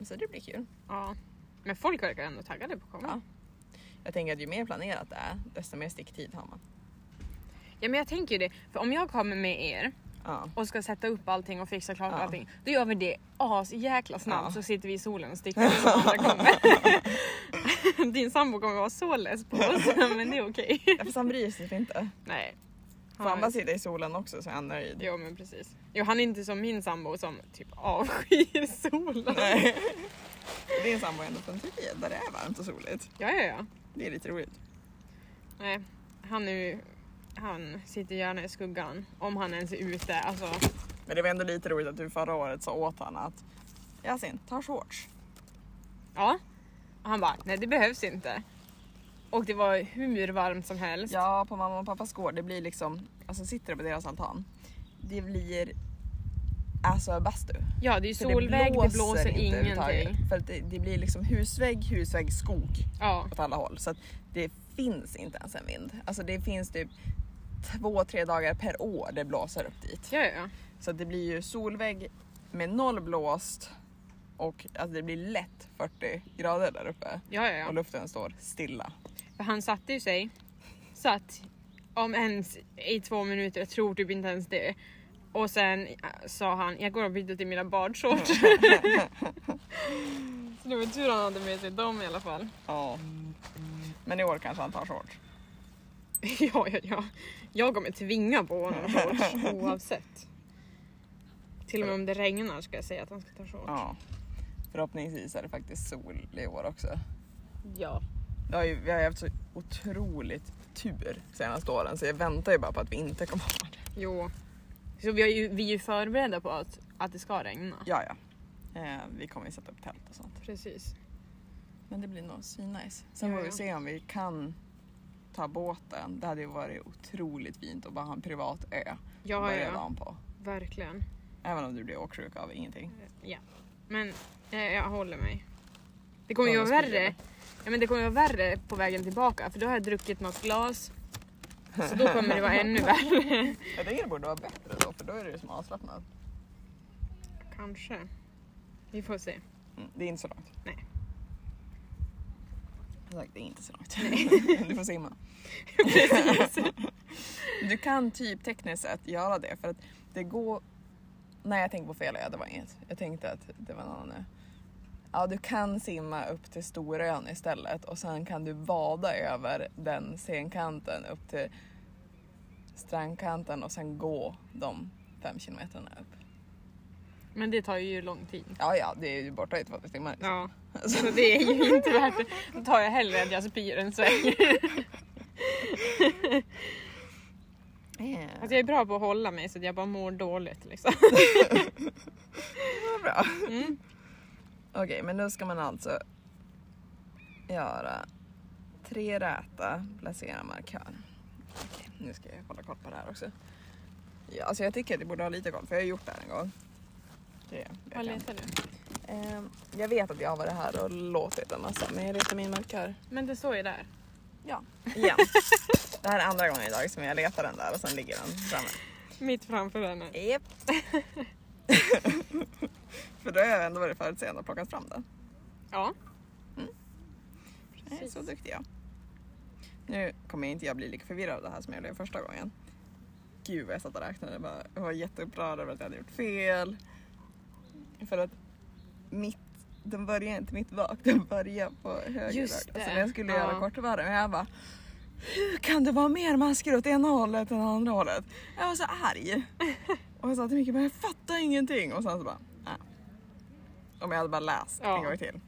A: Så det blir kul.
B: Ja. Men folk verkar ändå taggade på att komma.
A: Ja. Jag tänker att ju mer planerat det är, desto mer sticktid har man.
B: Ja, men jag tänker ju det. För om jag kommer med er
A: Ja,
B: och ska sätta upp allting och fixa klart
A: Ja.
B: allting. Då gör vi det as jäkla snabbt
A: Ja.
B: så sitter vi i solen och sticker tills de andra kommer. Din sambo kommer vara så less på oss men det är okej.
A: Ja, fast han bryr sig typ inte.
B: Nej.
A: Får han bara
B: Han,
A: sitta i solen också så är han nöjd.
B: jo men precis. Jo han är inte som min sambo som typ avskyr solen.
A: Nej. Din sambo är ändå från Turkiet där det är varmt och soligt.
B: Ja ja ja.
A: Det är lite roligt.
B: Nej. Han är ju, han sitter gärna i skuggan om han ens är ute. Alltså
A: Men det var ändå lite roligt att du förra året sa åt honom att Yasin, ta shorts.
B: ja. Och han bara nej det behövs inte. Och det var hur varmt som helst.
A: Ja, på mamma och pappas gård, det blir liksom, alltså sitter du på deras altan, det blir alltså bastu.
B: Ja det är
A: För
B: solväg, det blåser,
A: inte överhuvudtaget.
B: ingenting.
A: För att det, det blir liksom husvägg, husvägg, skog
B: Ja,
A: åt alla håll. Så att det finns inte ens en vind. Alltså det finns typ två, tre dagar per år det blåser upp dit.
B: ja, ja, ja.
A: Så att det blir ju solvägg med noll blåst och alltså det blir lätt 40 grader där uppe.
B: ja, ja,
A: Och
B: ja.
A: luften står stilla.
B: För han satte ju sig, satt om ens i två minuter, jag tror typ inte ens det. Och sen äh, sa han, jag går och byter till mina badshorts. Så det var tur han hade med sig dem i alla fall.
A: Ja. Men i år kanske han tar shorts.
B: Ja, ja, ja. Jag kommer tvinga på honom shorts oavsett. Till och med om det regnar ska jag säga att han ska ta shorts.
A: Ja. Förhoppningsvis är det faktiskt sol i år också.
B: Ja.
A: Det har ju, vi har ju haft så otroligt tur de senaste åren så jag väntar ju bara på att vi inte kommer ha det.
B: Jo. Så vi, har ju, vi är ju förberedda på att, att det ska regna.
A: Ja, ja. Eh, vi kommer ju sätta upp tält och sånt.
B: Precis.
A: Men det blir nog svinnice. Sen
B: Ja,
A: får vi
B: ja.
A: se om vi kan ta båten. Det hade ju varit otroligt fint att bara ha en privat ö att
B: Ja,
A: börja
B: ja.
A: dagen på.
B: Verkligen.
A: Även om du blir åksjuk av ingenting.
B: Ja. Men eh, jag håller mig. Det kommer ju
A: Kolla
B: vara värre.
A: spegeln.
B: Ja, men det kommer ju vara värre på vägen tillbaka för då har jag druckit något glas. Så då kommer det vara ännu värre.
A: Jag tänker det borde vara bättre då för då är det ju som avslappnat.
B: Kanske. Vi får se.
A: Mm, det är inte så långt.
B: Nej.
A: Som sagt, det är inte så långt. du får simma. du kan typ tekniskt sett göra det för att det går... Nej, jag tänkte på fel ö, det var inget. Jag tänkte att det var en annan ö. Ja, du kan simma upp till Storön istället och sen kan du vada över den senkanten upp till strandkanten och sen gå de fem kilometerna upp.
B: Men det tar ju lång tid.
A: Ja, ja, det är ju borta i två tre timmar. liksom.
B: Ja, så det är ju inte värt det. Då tar jag hellre att jag spyr än svänger. Alltså jag är bra på att hålla mig så att jag bara mår dåligt liksom.
A: Vad bra.
B: mm.
A: Okej, men nu ska man alltså göra tre räta, placera markör. Okej, nu ska jag hålla koll på det här också. Ja, alltså jag tycker att jag borde ha lite koll för jag har gjort det här en gång. Det vet
B: Vad
A: jag.
B: letar du?
A: Ehm, jag vet att jag har varit här och låtit en massa men jag letar min markör.
B: Men det står ju där.
A: Ja, igen. det här är andra gången idag som jag letar den där och sen ligger den framme.
B: Mitt framför henne.
A: Japp. för då har jag ändå varit förutseende och plockat fram den.
B: Ja.
A: Nej,
B: Precis.
A: så duktig jag. Nu kommer inte jag bli lika förvirrad av det här som jag blev första gången. Gud vad jag satt och räknade. Jag bara- Jag var jätteupprörd över att jag hade gjort fel. För att mitt, den börjar inte mitt vak, den börjar på höger vak.
B: Just
A: Alltså
B: det.
A: när jag skulle
B: Ja.
A: göra kortvarv, men jag bara hur kan det vara mer masker åt ena hållet än andra hållet? Jag var så arg. Och jag sa till Micke, men jag fattar ingenting. Och sen så bara, nej. Om jag hade bara läst
B: Ja.
A: en gång till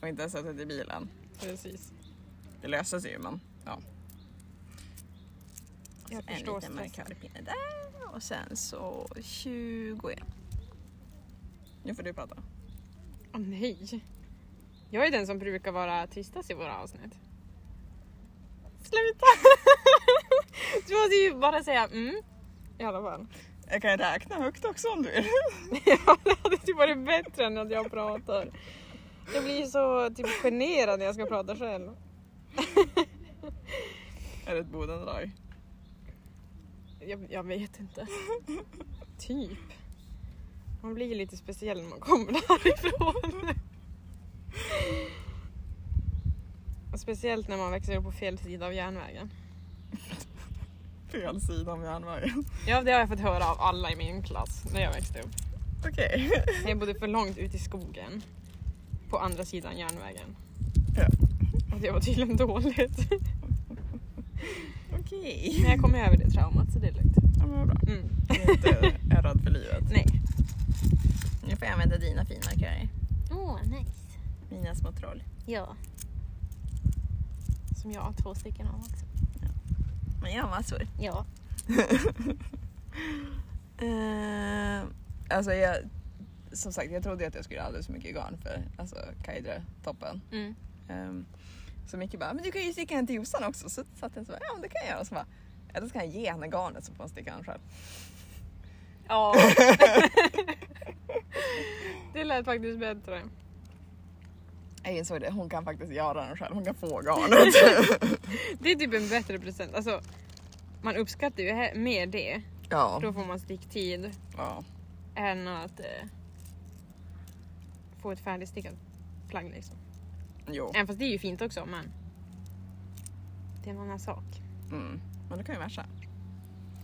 A: och inte suttit i bilen.
B: Precis.
A: Det löser sig ju men ja.
B: Jag
A: Så en
B: förstår
A: liten
B: stressen.
A: markörpinne där och sen så 21. Nu får du prata.
B: Åh nej. Jag är den som brukar vara tystast i våra avsnitt. Sluta! Du måste ju bara säga mm. I alla fall.
A: Jag kan räkna högt också om du vill.
B: Ja, det hade typ varit bättre än att jag pratar. Jag blir så typ generad när jag ska prata själv.
A: Är det ett bodendrag?
B: Jag, jag vet inte. Typ. Man blir ju lite speciell när man kommer därifrån. Och Speciellt när man växer upp på fel sida av järnvägen.
A: Fel sida om järnvägen.
B: Ja, det har jag fått höra av alla i min klass när jag växte upp.
A: Okej.
B: När jag bodde för långt ut i skogen. På andra sidan järnvägen.
A: Ja.
B: Och det var tydligen dåligt.
A: Okej.
B: Men jag kom över det traumat så det är lugnt.
A: Ja men vad bra.
B: Mm.
A: Du är inte är rädd för livet.
B: Nej.
A: Nu får jag använda dina fina markörer.
B: Åh, nice.
A: Mina små troll.
B: Ja. Som jag har två stycken av också.
A: Men jag har massor.
B: Ja.
A: Eh, alltså jag, som sagt jag trodde att jag skulle ha alldeles för mycket garn för alltså Kaidre, toppen.
B: Mm.
A: Ehm, så Micke bara, men du kan ju sticka den till Jossan också. Så satt jag så bara, ja men det kan jag göra. Och så bara, eller ska han ge henne garnet så får han sticka den själv.
B: Ja. det lät faktiskt bättre.
A: Jag insåg det, hon kan faktiskt göra den själv, hon kan få garnet.
B: Det är typ en bättre present. Alltså, man uppskattar ju he- mer det.
A: ja.
B: Då får man sticktid
A: ja.
B: än att eh, få ett färdigstickat plagg liksom.
A: Jo.
B: Även fast det är ju fint också men det är en annan sak.
A: Mm. Men du kan ju matcha.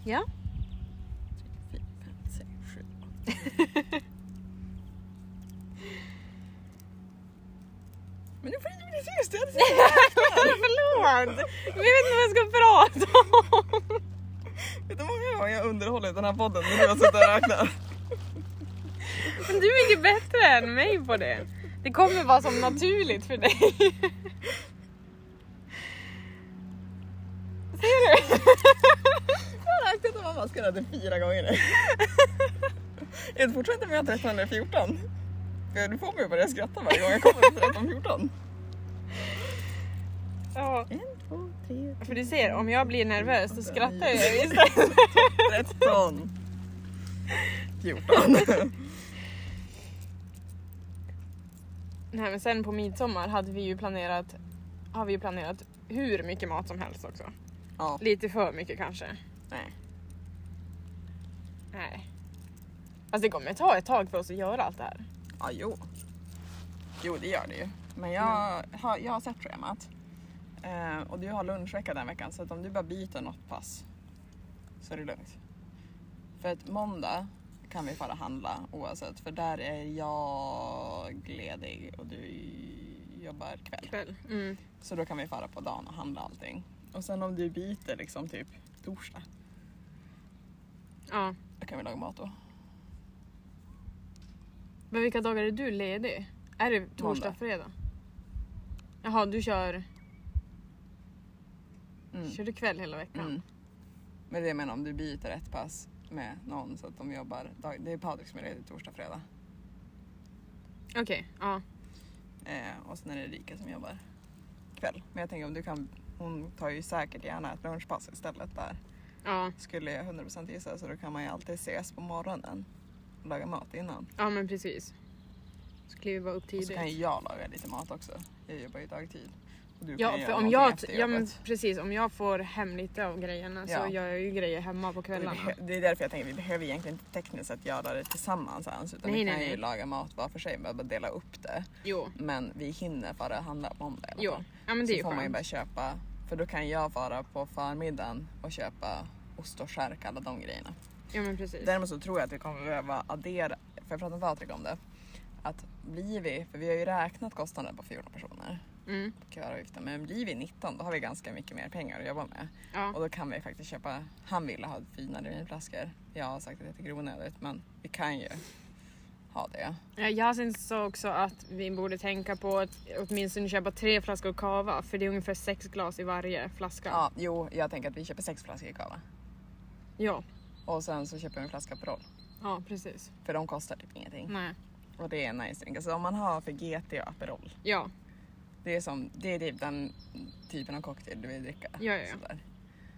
B: Ja.
A: 4, 5, 6, 7, 8. Men nu får du bli tyst! jag hade sagt-
B: Förlåt! Men Jag vet inte vad jag ska prata om.
A: Vet du hur många gånger jag underhållit den här podden när du har suttit och räknat?
B: Men du är mycket bättre än mig på det. Det kommer vara som naturligt för dig. Ser du?
A: Jag har räknat om man bara ska göra det fyra gånger nu. Jag fortsätter med att jag har 1314. För Du får mig att börja skratta varje gång jag kommer till 1314.
B: Ja,
A: 1, 2, 3,
B: för du ser, om jag blir nervös så skrattar jag istället.
A: 13. 14.
B: Nej men sen på midsommar hade vi ju planerat, har vi ju planerat hur mycket mat som helst också.
A: Ja.
B: Lite för mycket kanske.
A: Nej.
B: Nej. Fast det kommer ta ett tag för oss att göra allt det här.
A: Ja, jo. Jo, det gör det ju. Men jag, har, jag har sett schemat. Eh, och du har lunchvecka den veckan så att om du bara byter något pass så är det lugnt. För att måndag kan vi bara handla oavsett för där är jag ledig och du jobbar kväll.
B: Kväll. Mm.
A: Så då kan vi fara på dagen och handla allting. Och sen om du byter liksom typ torsdag,
B: Ja.
A: då kan vi laga mat då.
B: Men vilka dagar är du ledig? Är det torsdag,
A: Måndag.
B: fredag? Jaha, du kör,
A: Mm.
B: kör du kväll hela veckan?
A: Mm. Men det jag menar om du byter ett pass med någon så att de jobbar, dag, det är Patrik som är ledig torsdag, fredag.
B: Okej, ja.
A: Eh, och sen är det Erika som jobbar kväll. Men jag tänker om du kan, hon tar ju säkert gärna ett lunchpass istället där.
B: ja.
A: Skulle jag 100% gissa så då kan man ju alltid ses på morgonen och laga mat innan.
B: Ja men precis. Så kliver vi bara upp
A: Och så
B: tidigt.
A: kan ju jag laga lite mat också. Jag jobbar ju dagtid. Och du
B: Ja,
A: kan
B: för
A: göra
B: om
A: någonting
B: jag,
A: efter
B: ja men
A: jobbet.
B: precis, om jag får hem lite av grejerna så
A: Ja.
B: gör jag ju grejer hemma på
A: Och vi
B: kvällarna.
A: behö- Det är därför jag tänker vi behöver egentligen inte tekniskt sett göra det tillsammans ens utan
B: Nej,
A: vi kan
B: nej,
A: ju
B: nej.
A: laga mat var för sig, bara dela upp det.
B: Jo,
A: Men vi hinner bara handla på måndag i alla
B: jo.
A: fall.
B: Ja men det är
A: så
B: ju
A: får man ju
B: skönt.
A: bara köpa, för då kan jag vara på förmiddagen och köpa ost och skärk, alla de grejerna.
B: Ja men precis.
A: Däremot så tror jag att vi kommer behöva addera, för jag pratade med Patrik om det, att blir vi, för vi har ju räknat kostnaden på 14 personer,
B: Mm,
A: köravgiften, men blir vi 19 då har vi ganska mycket mer pengar att jobba med. Och
B: ja.
A: då kan vi faktiskt köpa, han ville ha finare vinflaskor, jag har sagt att det är lite onödigt men vi kan ju ha det.
B: Ja, Yasin sa också att vi borde tänka på att åtminstone köpa tre flaskor cava för det är ungefär sex glas i varje flaska.
A: Ja, jo, jag tänker att vi köper sex flaskor kava
B: ja,
A: och sen så köper vi en flaska Aperol,
B: ja precis.
A: för de kostar typ ingenting.
B: Nej.
A: Och det är en nice drink. Alltså om man har för GT och Aperol.
B: Ja,
A: Det är, som, det är typ den typen av cocktail du vill dricka.
B: Ja, ja, ja.
A: Sådär.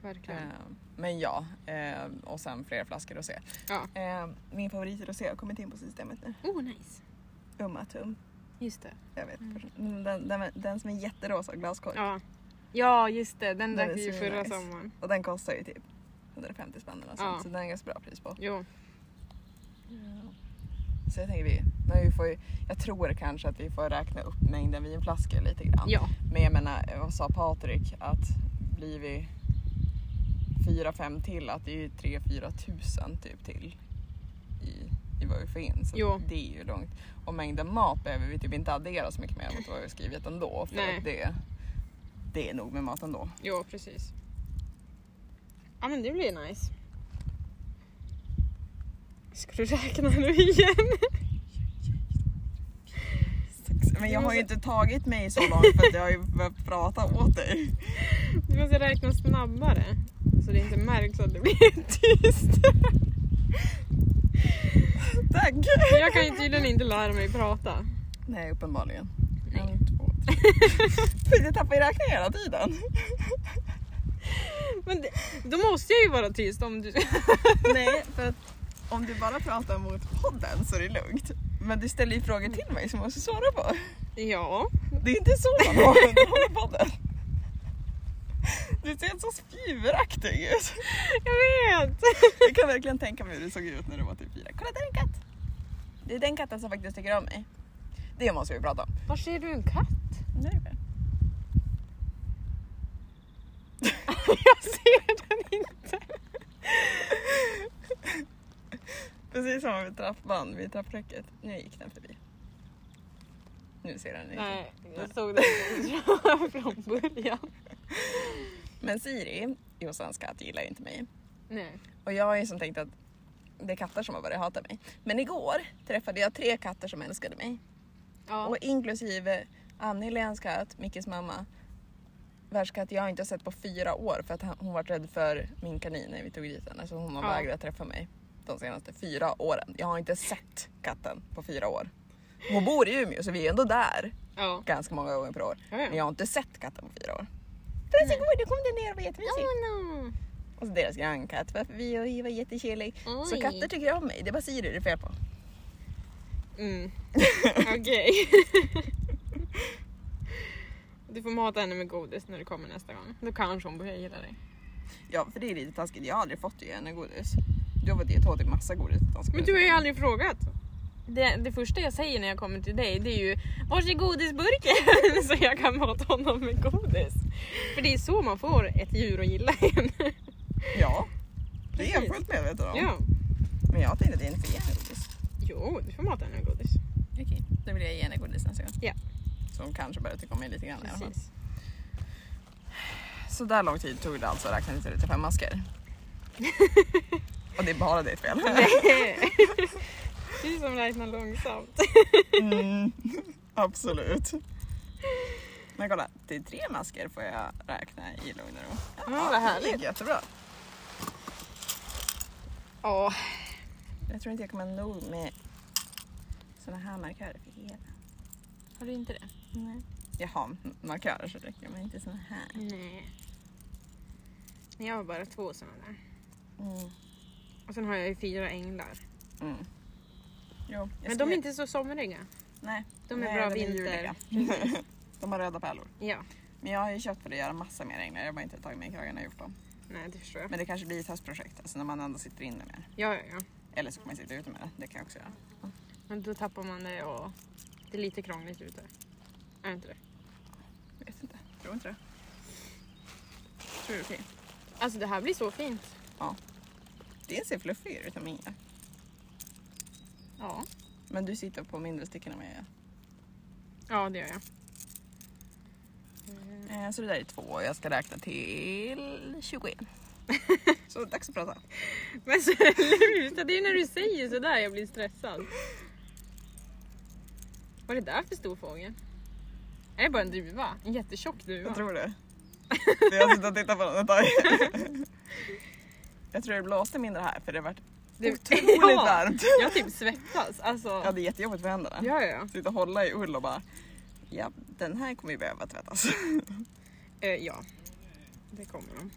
B: verkligen.
A: Eh, Men ja, eh, och sen flera flaskor rosé.
B: Ja.
A: Eh, Min favorit är rosé har kommit in på systemet nu.
B: Oh nice.
A: Umma Tum.
B: Just det.
A: Jag vet. Den, den, den som är jätterosa glaskork.
B: Mm. Ja, ja just det. Den
A: Den
B: drack
A: är
B: vi ju
A: så
B: förra
A: nice.
B: sommaren.
A: Och den kostar ju typ 150 spänn eller något
B: Ja.
A: sånt. Så den är ganska bra pris på.
B: Jo.
A: Så jag tänker vi, men vi får ju, jag tror kanske att vi får räkna upp mängden vinflaskor lite grann.
B: Ja.
A: Men jag menar, vad sa Patrik? Att blir vi fyra, fem till, att det är ju 3-4 tusen typ till i, i vad vi får in. Så
B: Jo.
A: det är ju långt. Och mängden mat behöver vi typ inte addera så mycket mer mot vad vi har skrivit ändå. För
B: Nej.
A: att det, det är nog med mat ändå.
B: Jo, precis. Ja, men det blir nice. Ska du räkna nu igen?
A: Men
B: Vi
A: jag har ju
B: måste-
A: inte tagit mig så långt för att jag har ju börjat prata åt dig.
B: Du måste räkna snabbare så det inte märks att det blir tyst.
A: Tack!
B: Jag kan ju tydligen inte lära mig prata.
A: Nej, uppenbarligen.
B: Nej.
A: En, två, tre. jag tappar ju räkningen hela tiden.
B: Men det, då måste jag ju vara tyst om du...
A: Nej, för att Om du bara pratar mot podden så är det lugnt. Men du ställer ju frågor till mig som jag måste svara på.
B: Ja.
A: Det är inte så man har underhåller podden. Du ser så spjuveraktig ut.
B: Jag vet!
A: Jag kan verkligen tänka mig hur du såg ut när du var typ fyra. Kolla där är en katt! Det är den katten som faktiskt tycker om mig. Det måste vi prata om.
B: Var ser du en katt?
A: Nej.
B: Jag ser den inte.
A: Precis som vid trappband vid trappräcket. Nu gick den förbi. Nu ser den inte.
B: Nej, jag såg den inte från början.
A: Men Siri, Jossans katt, gillar ju inte mig.
B: Nej.
A: Och jag har ju som tänkt att det är katter som har börjat hata mig. Men igår träffade jag tre katter som älskade mig.
B: Ja.
A: Och inklusive Anneléns katt, Mickes mamma. Vars katt jag inte har sett på fyra år för att han- hon var rädd för min kanin när vi tog dit henne. Så hon har
B: Ja.
A: vägrat träffa mig de senaste fyra åren. Jag har inte sett katten på fyra år. Hon bor i Umeå så vi är ändå där
B: Ja.
A: ganska många gånger per år.
B: Ja, ja.
A: Men jag har inte sett katten på fyra år. Förrän igår, då kom den ner och var jättemysig.
B: Oh, no.
A: Och så deras grannkatt, varför vi och Iva är jättekärlig. Så
B: Oj.
A: katter tycker om mig, det är bara Siri det är fel på.
B: Mm. Okej. Du får mata henne med godis när du kommer nästa gång. Då kanske hon börjar gilla dig.
A: Ja, för det är lite taskigt. Jag har aldrig fått ge henne godis. Du har fått ge Toddy massa godis. utan ska
B: Men
A: du-
B: du har ju aldrig frågat. Det, det första jag säger när jag kommer till dig det är ju Vars är godisburken? så jag kan mata honom med godis. För det är så man får ett djur att gilla en.
A: Ja, det är jag
B: Precis.
A: fullt medveten om.
B: ja.
A: Men jag tänkte att jag inte fick ge henne godis.
B: Jo, du får mata henne med godis.
A: Okej, då vill jag ge henne godis nästa gång.
B: Ja.
A: Så hon kanske börjar tycka om mig lite grann i alla fall.
B: Precis.
A: Så där lång tid tog det alltså att räkna till 35 masker. Och det är bara ditt fel.
B: Du som räknar långsamt.
A: Mm, absolut. Men kolla, till tre masker får jag räkna i lugn och ro.
B: Ja, vad
A: Det
B: härligt.
A: gick jättebra.
B: Ja,
A: Jag tror inte jag kommer ha nog med såna här markörer för hela.
B: har du inte det?
A: Nej. Jag har markörer så räcker men inte såna här.
B: Nej. Jag har bara två sådana där.
A: Mm.
B: Och sen har jag ju fyra änglar.
A: Mm. Jo, jag
B: Men
A: ska-
B: de är inte så somriga.
A: Nej,
B: De är
A: nej,
B: bra
A: de
B: vinter.
A: juliga. de har röda pärlor.
B: Ja,
A: Men jag har ju köpt för att göra massa mer änglar. Jag har bara inte tagit med i kragen och gjort dem.
B: nej det förstår jag.
A: Men det kanske blir ett höstprojekt, alltså när man ändå sitter inne med det.
B: Ja, ja, ja.
A: Eller så kan man sitta ute med det. Det kan jag också göra.
B: Men då tappar man det och det är lite krångligt ute. Är det inte det?
A: Vet inte. Tror inte det. Tror du det är okej?
B: Alltså det här blir så fint.
A: Det ser fluffigare ut än min gör.
B: Ja.
A: Men du sitter på mindre stickor än vad jag gör.
B: Ja, det gör jag. Mm.
A: Eh, Så det där är två och jag ska räkna till 21. så dags att prata.
B: Men så sluta, det är ju när du säger sådär jag blir stressad. Vad är det där för stor fågel? Är det bara en druva? En jättetjock druva?
A: Jag tror det. alltså För Jag har suttit och tittat på den ett tag. Jag tror det blåste mindre här för det vart
B: Det-
A: otroligt
B: Ja.
A: varmt.
B: Jag typ svettas. Alltså.
A: Jag hade jättejobbigt för händerna.
B: Ja, ja.
A: Sitta och hålla i ull och bara ja den här kommer ju behöva tvättas.
B: Eh, ja. Det kommer de.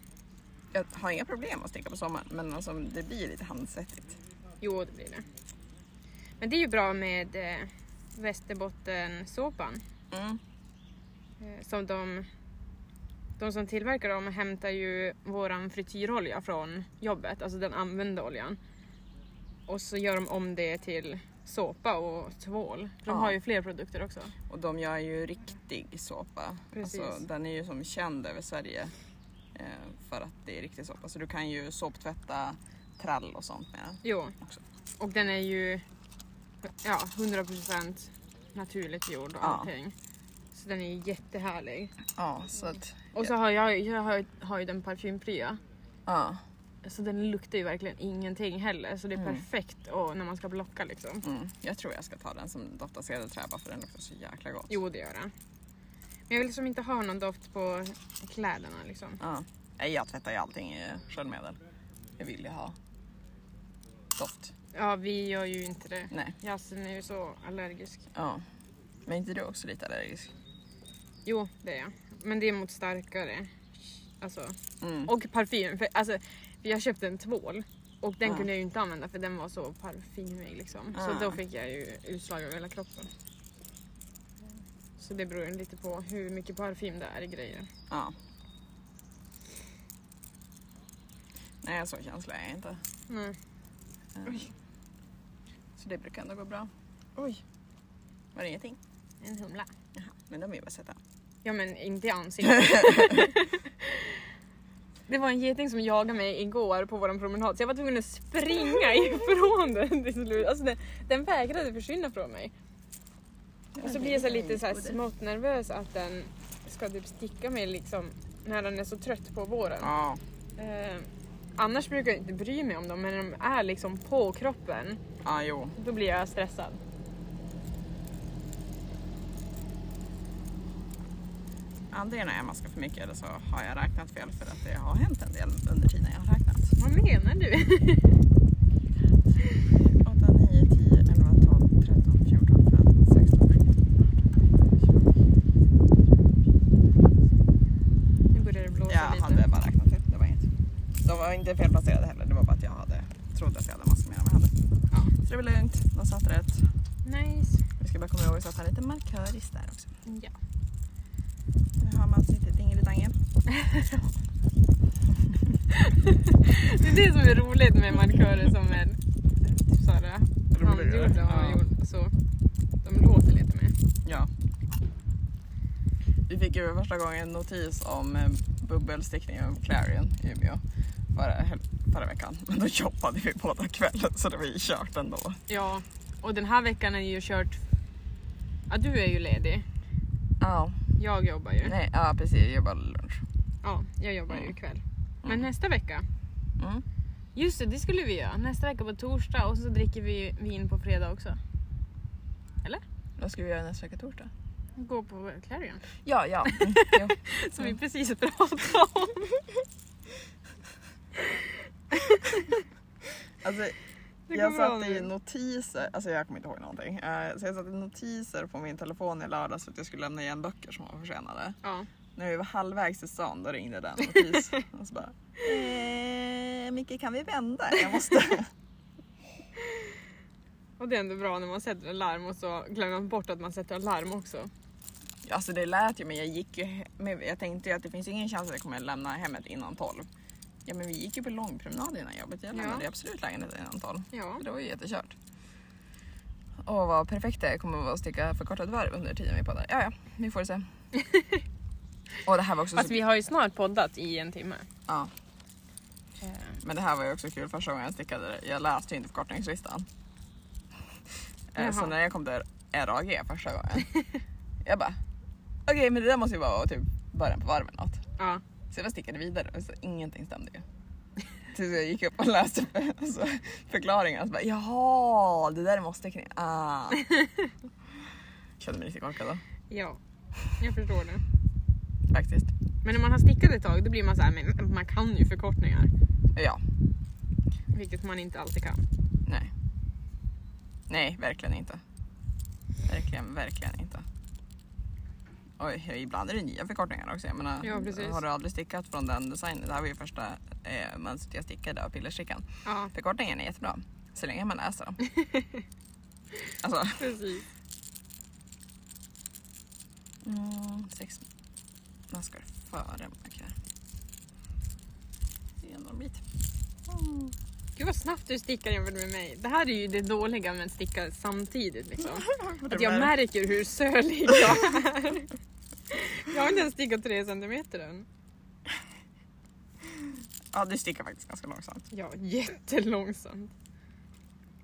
A: Jag har inga problem att sticka på sommaren men alltså, det blir lite handsvettigt.
B: Jo, det blir det. Men det är ju bra med eh, Västerbottensåpan.
A: Mm.
B: Eh, som de, de som tillverkar dem hämtar ju våran frityrolja från jobbet, alltså den använda oljan. Och så gör de om det till såpa och tvål. De
A: Ja.
B: har ju fler produkter också.
A: Och de gör ju riktig såpa.
B: Precis.
A: Alltså, den är ju som känd över Sverige eh, för att det är riktig såpa. Så du kan ju såptvätta trall och sånt med den.
B: Jo.
A: Också.
B: Och den är ju ja, 100% naturligt gjord och
A: Ja.
B: allting. Så den är ju jättehärlig.
A: Ja, så att...
B: Och så har jag, jag har, har ju den parfympria.
A: Ja.
B: Så den luktar ju verkligen ingenting heller. Så det är
A: Mm.
B: perfekt och när man ska blocka liksom.
A: Mm, jag tror jag ska ta den som doftar cederträ bara för den luktar så jäkla gott.
B: Jo, det gör den. Men jag vill liksom inte ha någon doft på kläderna liksom.
A: Ja. Nej, jag tvättar ju allting i sköljmedel. Jag vill ju ha doft.
B: Ja, vi gör ju inte det.
A: Nej.
B: Jassen är ju så allergisk.
A: Ja. Men inte du också lite allergisk?
B: Jo, det är jag. Men det är mot starkare. Alltså.
A: Mm.
B: Och parfym. För, alltså, för jag köpte en tvål Och den
A: Ja.
B: kunde jag ju inte använda för den var så parfymig liksom.
A: Ja.
B: Så då fick jag ju utslag över hela kroppen. Så det beror ju lite på hur mycket parfym det är i grejer.
A: Ja. Nej, så känslig är jag inte.
B: Nej.
A: Eh, Så det brukar ändå gå bra.
B: Oj,
A: Var det ingenting?
B: en humla.
A: Jaha, men de är ju bara söta.
B: Ja men inte i ansiktet. det var en geting som jagade mig igår på vår promenad så jag var tvungen att springa ifrån den till slut. Alltså den, den vägrade försvinna från mig. Och så blir jag så här lite så här smått nervös att den ska typ sticka mig liksom när den är så trött på våren.
A: Ja.
B: Eh, annars brukar jag inte bry mig om dem men när de är liksom på kroppen
A: ja, jo.
B: då blir jag stressad.
A: Antingen har jag maskat för mycket eller så har jag räknat fel för att det har hänt en del under tiden jag har räknat.
B: Vad menar du?
A: 8, 9, 10, 11, 12, 13, 14, 15, 16, 17, 18,
B: Nu börjar det blåsa
A: Jag
B: lite.
A: hade bara räknat ut, det var inget. De var inte felplacerade heller, det var bara att jag hade trodde att jag hade massor mer än vad jag hade. Så det var lugnt, de satt rätt.
B: Nice.
A: Vi ska bara komma ihåg så att ha lite marköris där också.
B: Ja.
A: Nu har man sitt dingelidangel.
B: Det är det som är roligt med markörer som är typ såhär handgjorda och gjord- så. De låter lite mer.
A: Ja. Vi fick ju för första gången notis om eh, bubbelstickning av Clarion i Umeå förra, hel- förra veckan. Men då jobbade vi båda kvällen så det var ju kört ändå.
B: Ja, och den här veckan är ju kört... Ja, du är ju ledig.
A: Ja,
B: Jag jobbar ju.
A: nej, ja precis. Jag jobbade lunch.
B: Ja, jag jobbar ju
A: Mm.
B: ikväll.
A: Mm.
B: Men nästa vecka,
A: Mm.
B: just det, det skulle vi göra. Nästa vecka på torsdag och så dricker vi vin på fredag också.
A: Vad ska vi göra nästa vecka torsdag?
B: Gå på Clarion.
A: Ja, ja. Mm, jo.
B: Som vi precis pratade om.
A: Alltså,
B: Det
A: jag
B: går bra
A: satte i
B: nu.
A: notiser, alltså jag kommer inte ihåg någonting. Eh, Så jag satte i notiser på min telefon i lördags för att jag skulle lämna igen böcker som var försenade.
B: Ja.
A: När vi var halvvägs till stan då ringde den notis. och så bara, eh, Micke kan vi vända? Jag måste.
B: Och det är ändå bra när man sätter alarm och så glömmer man bort att man sätter alarm också.
A: alltså det lät ju men jag gick ju, he- men jag tänkte ju att det finns ingen chans att jag kommer lämna hemmet innan 12. Ja men vi gick ju på långpromenad innan jobbet, jag
B: Ja.
A: lämnade ju absolut lägenheten innan 12.
B: Ja.
A: Det var ju jättekört. Och vad perfekt det kommer att vara att sticka förkortad varv under tiden vi poddar. Ja ja, vi får se. och det här var också
B: Fast
A: så...
B: vi har ju snart poddat i en timme.
A: Ja, men det här var ju också kul första gången jag stickade. det. Jag läste ju inte förkortningslistan. Eh, Så
B: Jaha.
A: när jag kom till RAG första gången. jag bara, okej men det där måste ju vara typ början på varven något.
B: Ja.
A: Så jag bara stickade vidare och så ingenting stämde ju. Tills jag gick upp och läste för, alltså, förklaringen och så bara jaha, det där måste kring... Ah. Kände mig riktigt korkad då,
B: ja, jag förstår det.
A: faktiskt.
B: Men när man har stickat ett tag då blir man så här, men man kan ju förkortningar.
A: Ja,
B: Vilket man inte alltid kan.
A: nej. Nej, verkligen inte. Verkligen, verkligen inte. Oj, ja, ibland är det nya förkortningar också. Jag menar,
B: Ja, precis.
A: har du aldrig stickat från den designen? Det här var ju första eh, mönstret jag stickade av pillerstickan.
B: Ja,
A: Förkortningen är jättebra, så länge man läser dem. alltså,
B: precis.
A: Mm, sex maskar före markör. Det är ändå en bit.
B: Gud vad snabbt du stickar jämfört med mig. Det här är ju det dåliga med att sticka samtidigt liksom. Att jag märker hur sölig jag är. Jag har inte ens stickat tre centimeter än.
A: Ja, du stickar faktiskt ganska långsamt.
B: Ja, jättelångsamt.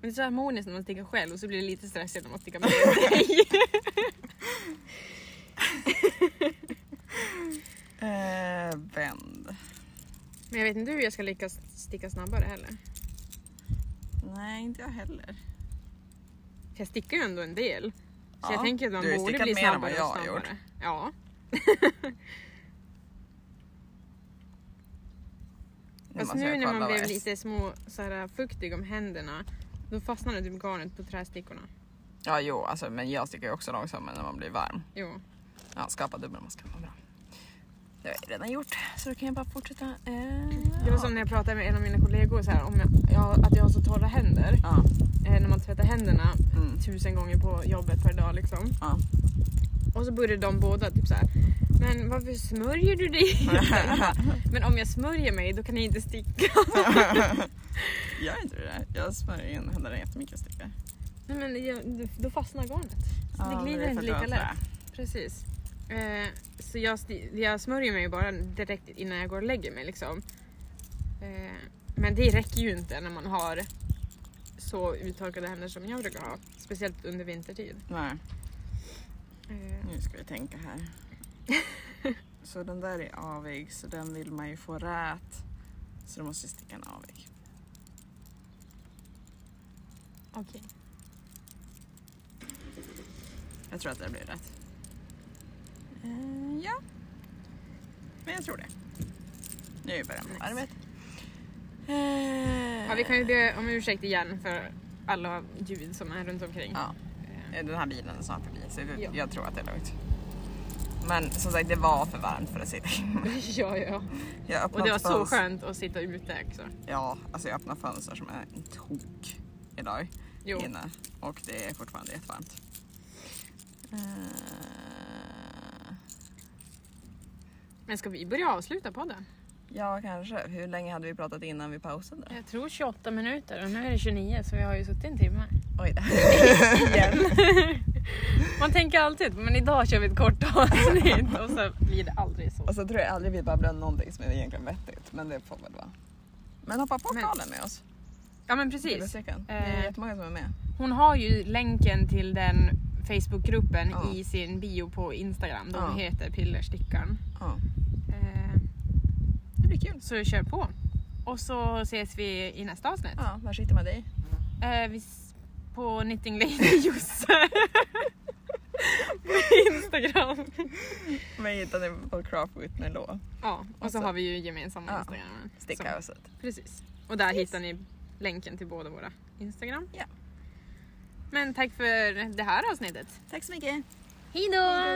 B: Men det är så harmoniskt när man stickar själv och så blir det lite stressigt när man stickar med dig.
A: Eh, vänd.
B: Men jag vet inte hur jag ska lyckas sticka snabbare heller.
A: Nej, inte jag heller.
B: För jag stickar ju ändå en del. Så
A: Ja,
B: jag tänker att man
A: du har ju
B: borde
A: stickat
B: bli
A: mer än
B: snabbare
A: vad
B: och
A: jag har
B: snabbare.
A: gjort.
B: Ja.
A: Nu
B: Fast
A: måste
B: nu
A: jag
B: när man
A: kolla vad
B: blev
A: S-
B: lite små, så här, fuktig om händerna, då fastnade typ garnet på trästickorna.
A: Ja, jo, alltså, men jag stickar ju också långsammare när man blir varm.
B: Jo.
A: Ja, skapa dubbelmaskar. Vad bra. Det har jag redan gjort, så då kan jag bara fortsätta. Eh,
B: Det var som när jag pratade med en av mina kollegor så här, om jag, jag, att jag har så torra händer.
A: Ja.
B: Eh, när man tvättar händerna
A: Mm.
B: tusen gånger på jobbet per dag liksom.
A: Ja.
B: Och så började de båda typ så här. Men varför smörjer du dig? Men om jag smörjer mig då kan jag inte sticka.
A: Gör inte du det? Jag smörjer in händerna jättemycket och stickar.
B: Nej, men jag, då fastnar garnet. Så
A: Ja,
B: det
A: men
B: glider
A: är för
B: inte
A: att du har
B: lika lätt.
A: trä.
B: Precis. Eh, så jag, sti- jag smörjer mig ju bara direkt innan jag går och lägger mig. Liksom. Eh, men det räcker ju inte när man har så uttorkade händer som jag brukar ha. Speciellt under vintertid.
A: Nej,
B: Eh,
A: nu ska vi tänka här. så den där är avig, så den vill man ju få rät. Så då måste jag sticka en avig.
B: Okej.
A: Jag tror att det blir rätt. Eh, ja. Men jag tror det. Nu börjar man
B: Nice.
A: varvet. Eh,
B: Ja, vi kan ju be om ursäkt igen för alla ljud som är runt omkring.
A: Ja.
B: Eh,
A: Den här bilen är snart förbi så det,
B: Ja.
A: jag tror att det är lugnt. Men som sagt, det var för varmt för att sitta inne.
B: ja, ja.
A: Jag
B: Och det var så
A: fönster-
B: skönt att sitta ute också.
A: Ja, alltså jag öppnar fönster som är en tok idag
B: Jo.
A: inne och det är fortfarande jättevarmt. Eh,
B: Men ska vi börja avsluta podden?
A: Ja, kanske. Hur länge hade vi pratat innan vi pausade?
B: Jag tror 28 minuter och nu är det 29 så vi har ju suttit en timme.
A: Oj då.
B: Man tänker alltid men idag kör vi ett kort avsnitt och så blir det aldrig så.
A: Och så tror jag aldrig vi babblar om någonting som är egentligen vettigt, men det får väl vara. Men hoppa på
B: Men-
A: Karlen med oss.
B: Ja men
A: Vill du
B: precis.
A: se den? Det
B: Eh.
A: är jättemånga som är med.
B: Hon har ju länken till den Facebookgruppen
A: Ja.
B: i sin bio på Instagram. De
A: Ja.
B: heter Pillerstickaren.
A: Ja,
B: Eh,
A: det blir kul.
B: Så kör på. Och så ses vi i nästa avsnitt.
A: Ja, var sitter man dig?
B: Eh, vi s- på Knitting Lady Josse. på Instagram.
A: Men hittar ni på Craft with Melo.
B: Ja, och så
A: Alltså-
B: har vi ju gemensamma
A: Ja.
B: Instagram.
A: Sticka och sånt.
B: Precis. Och där hittar ni länken till båda våra Instagram.
A: Ja.
B: Men tack för det här avsnittet.
A: Tack så mycket.
B: Hej då!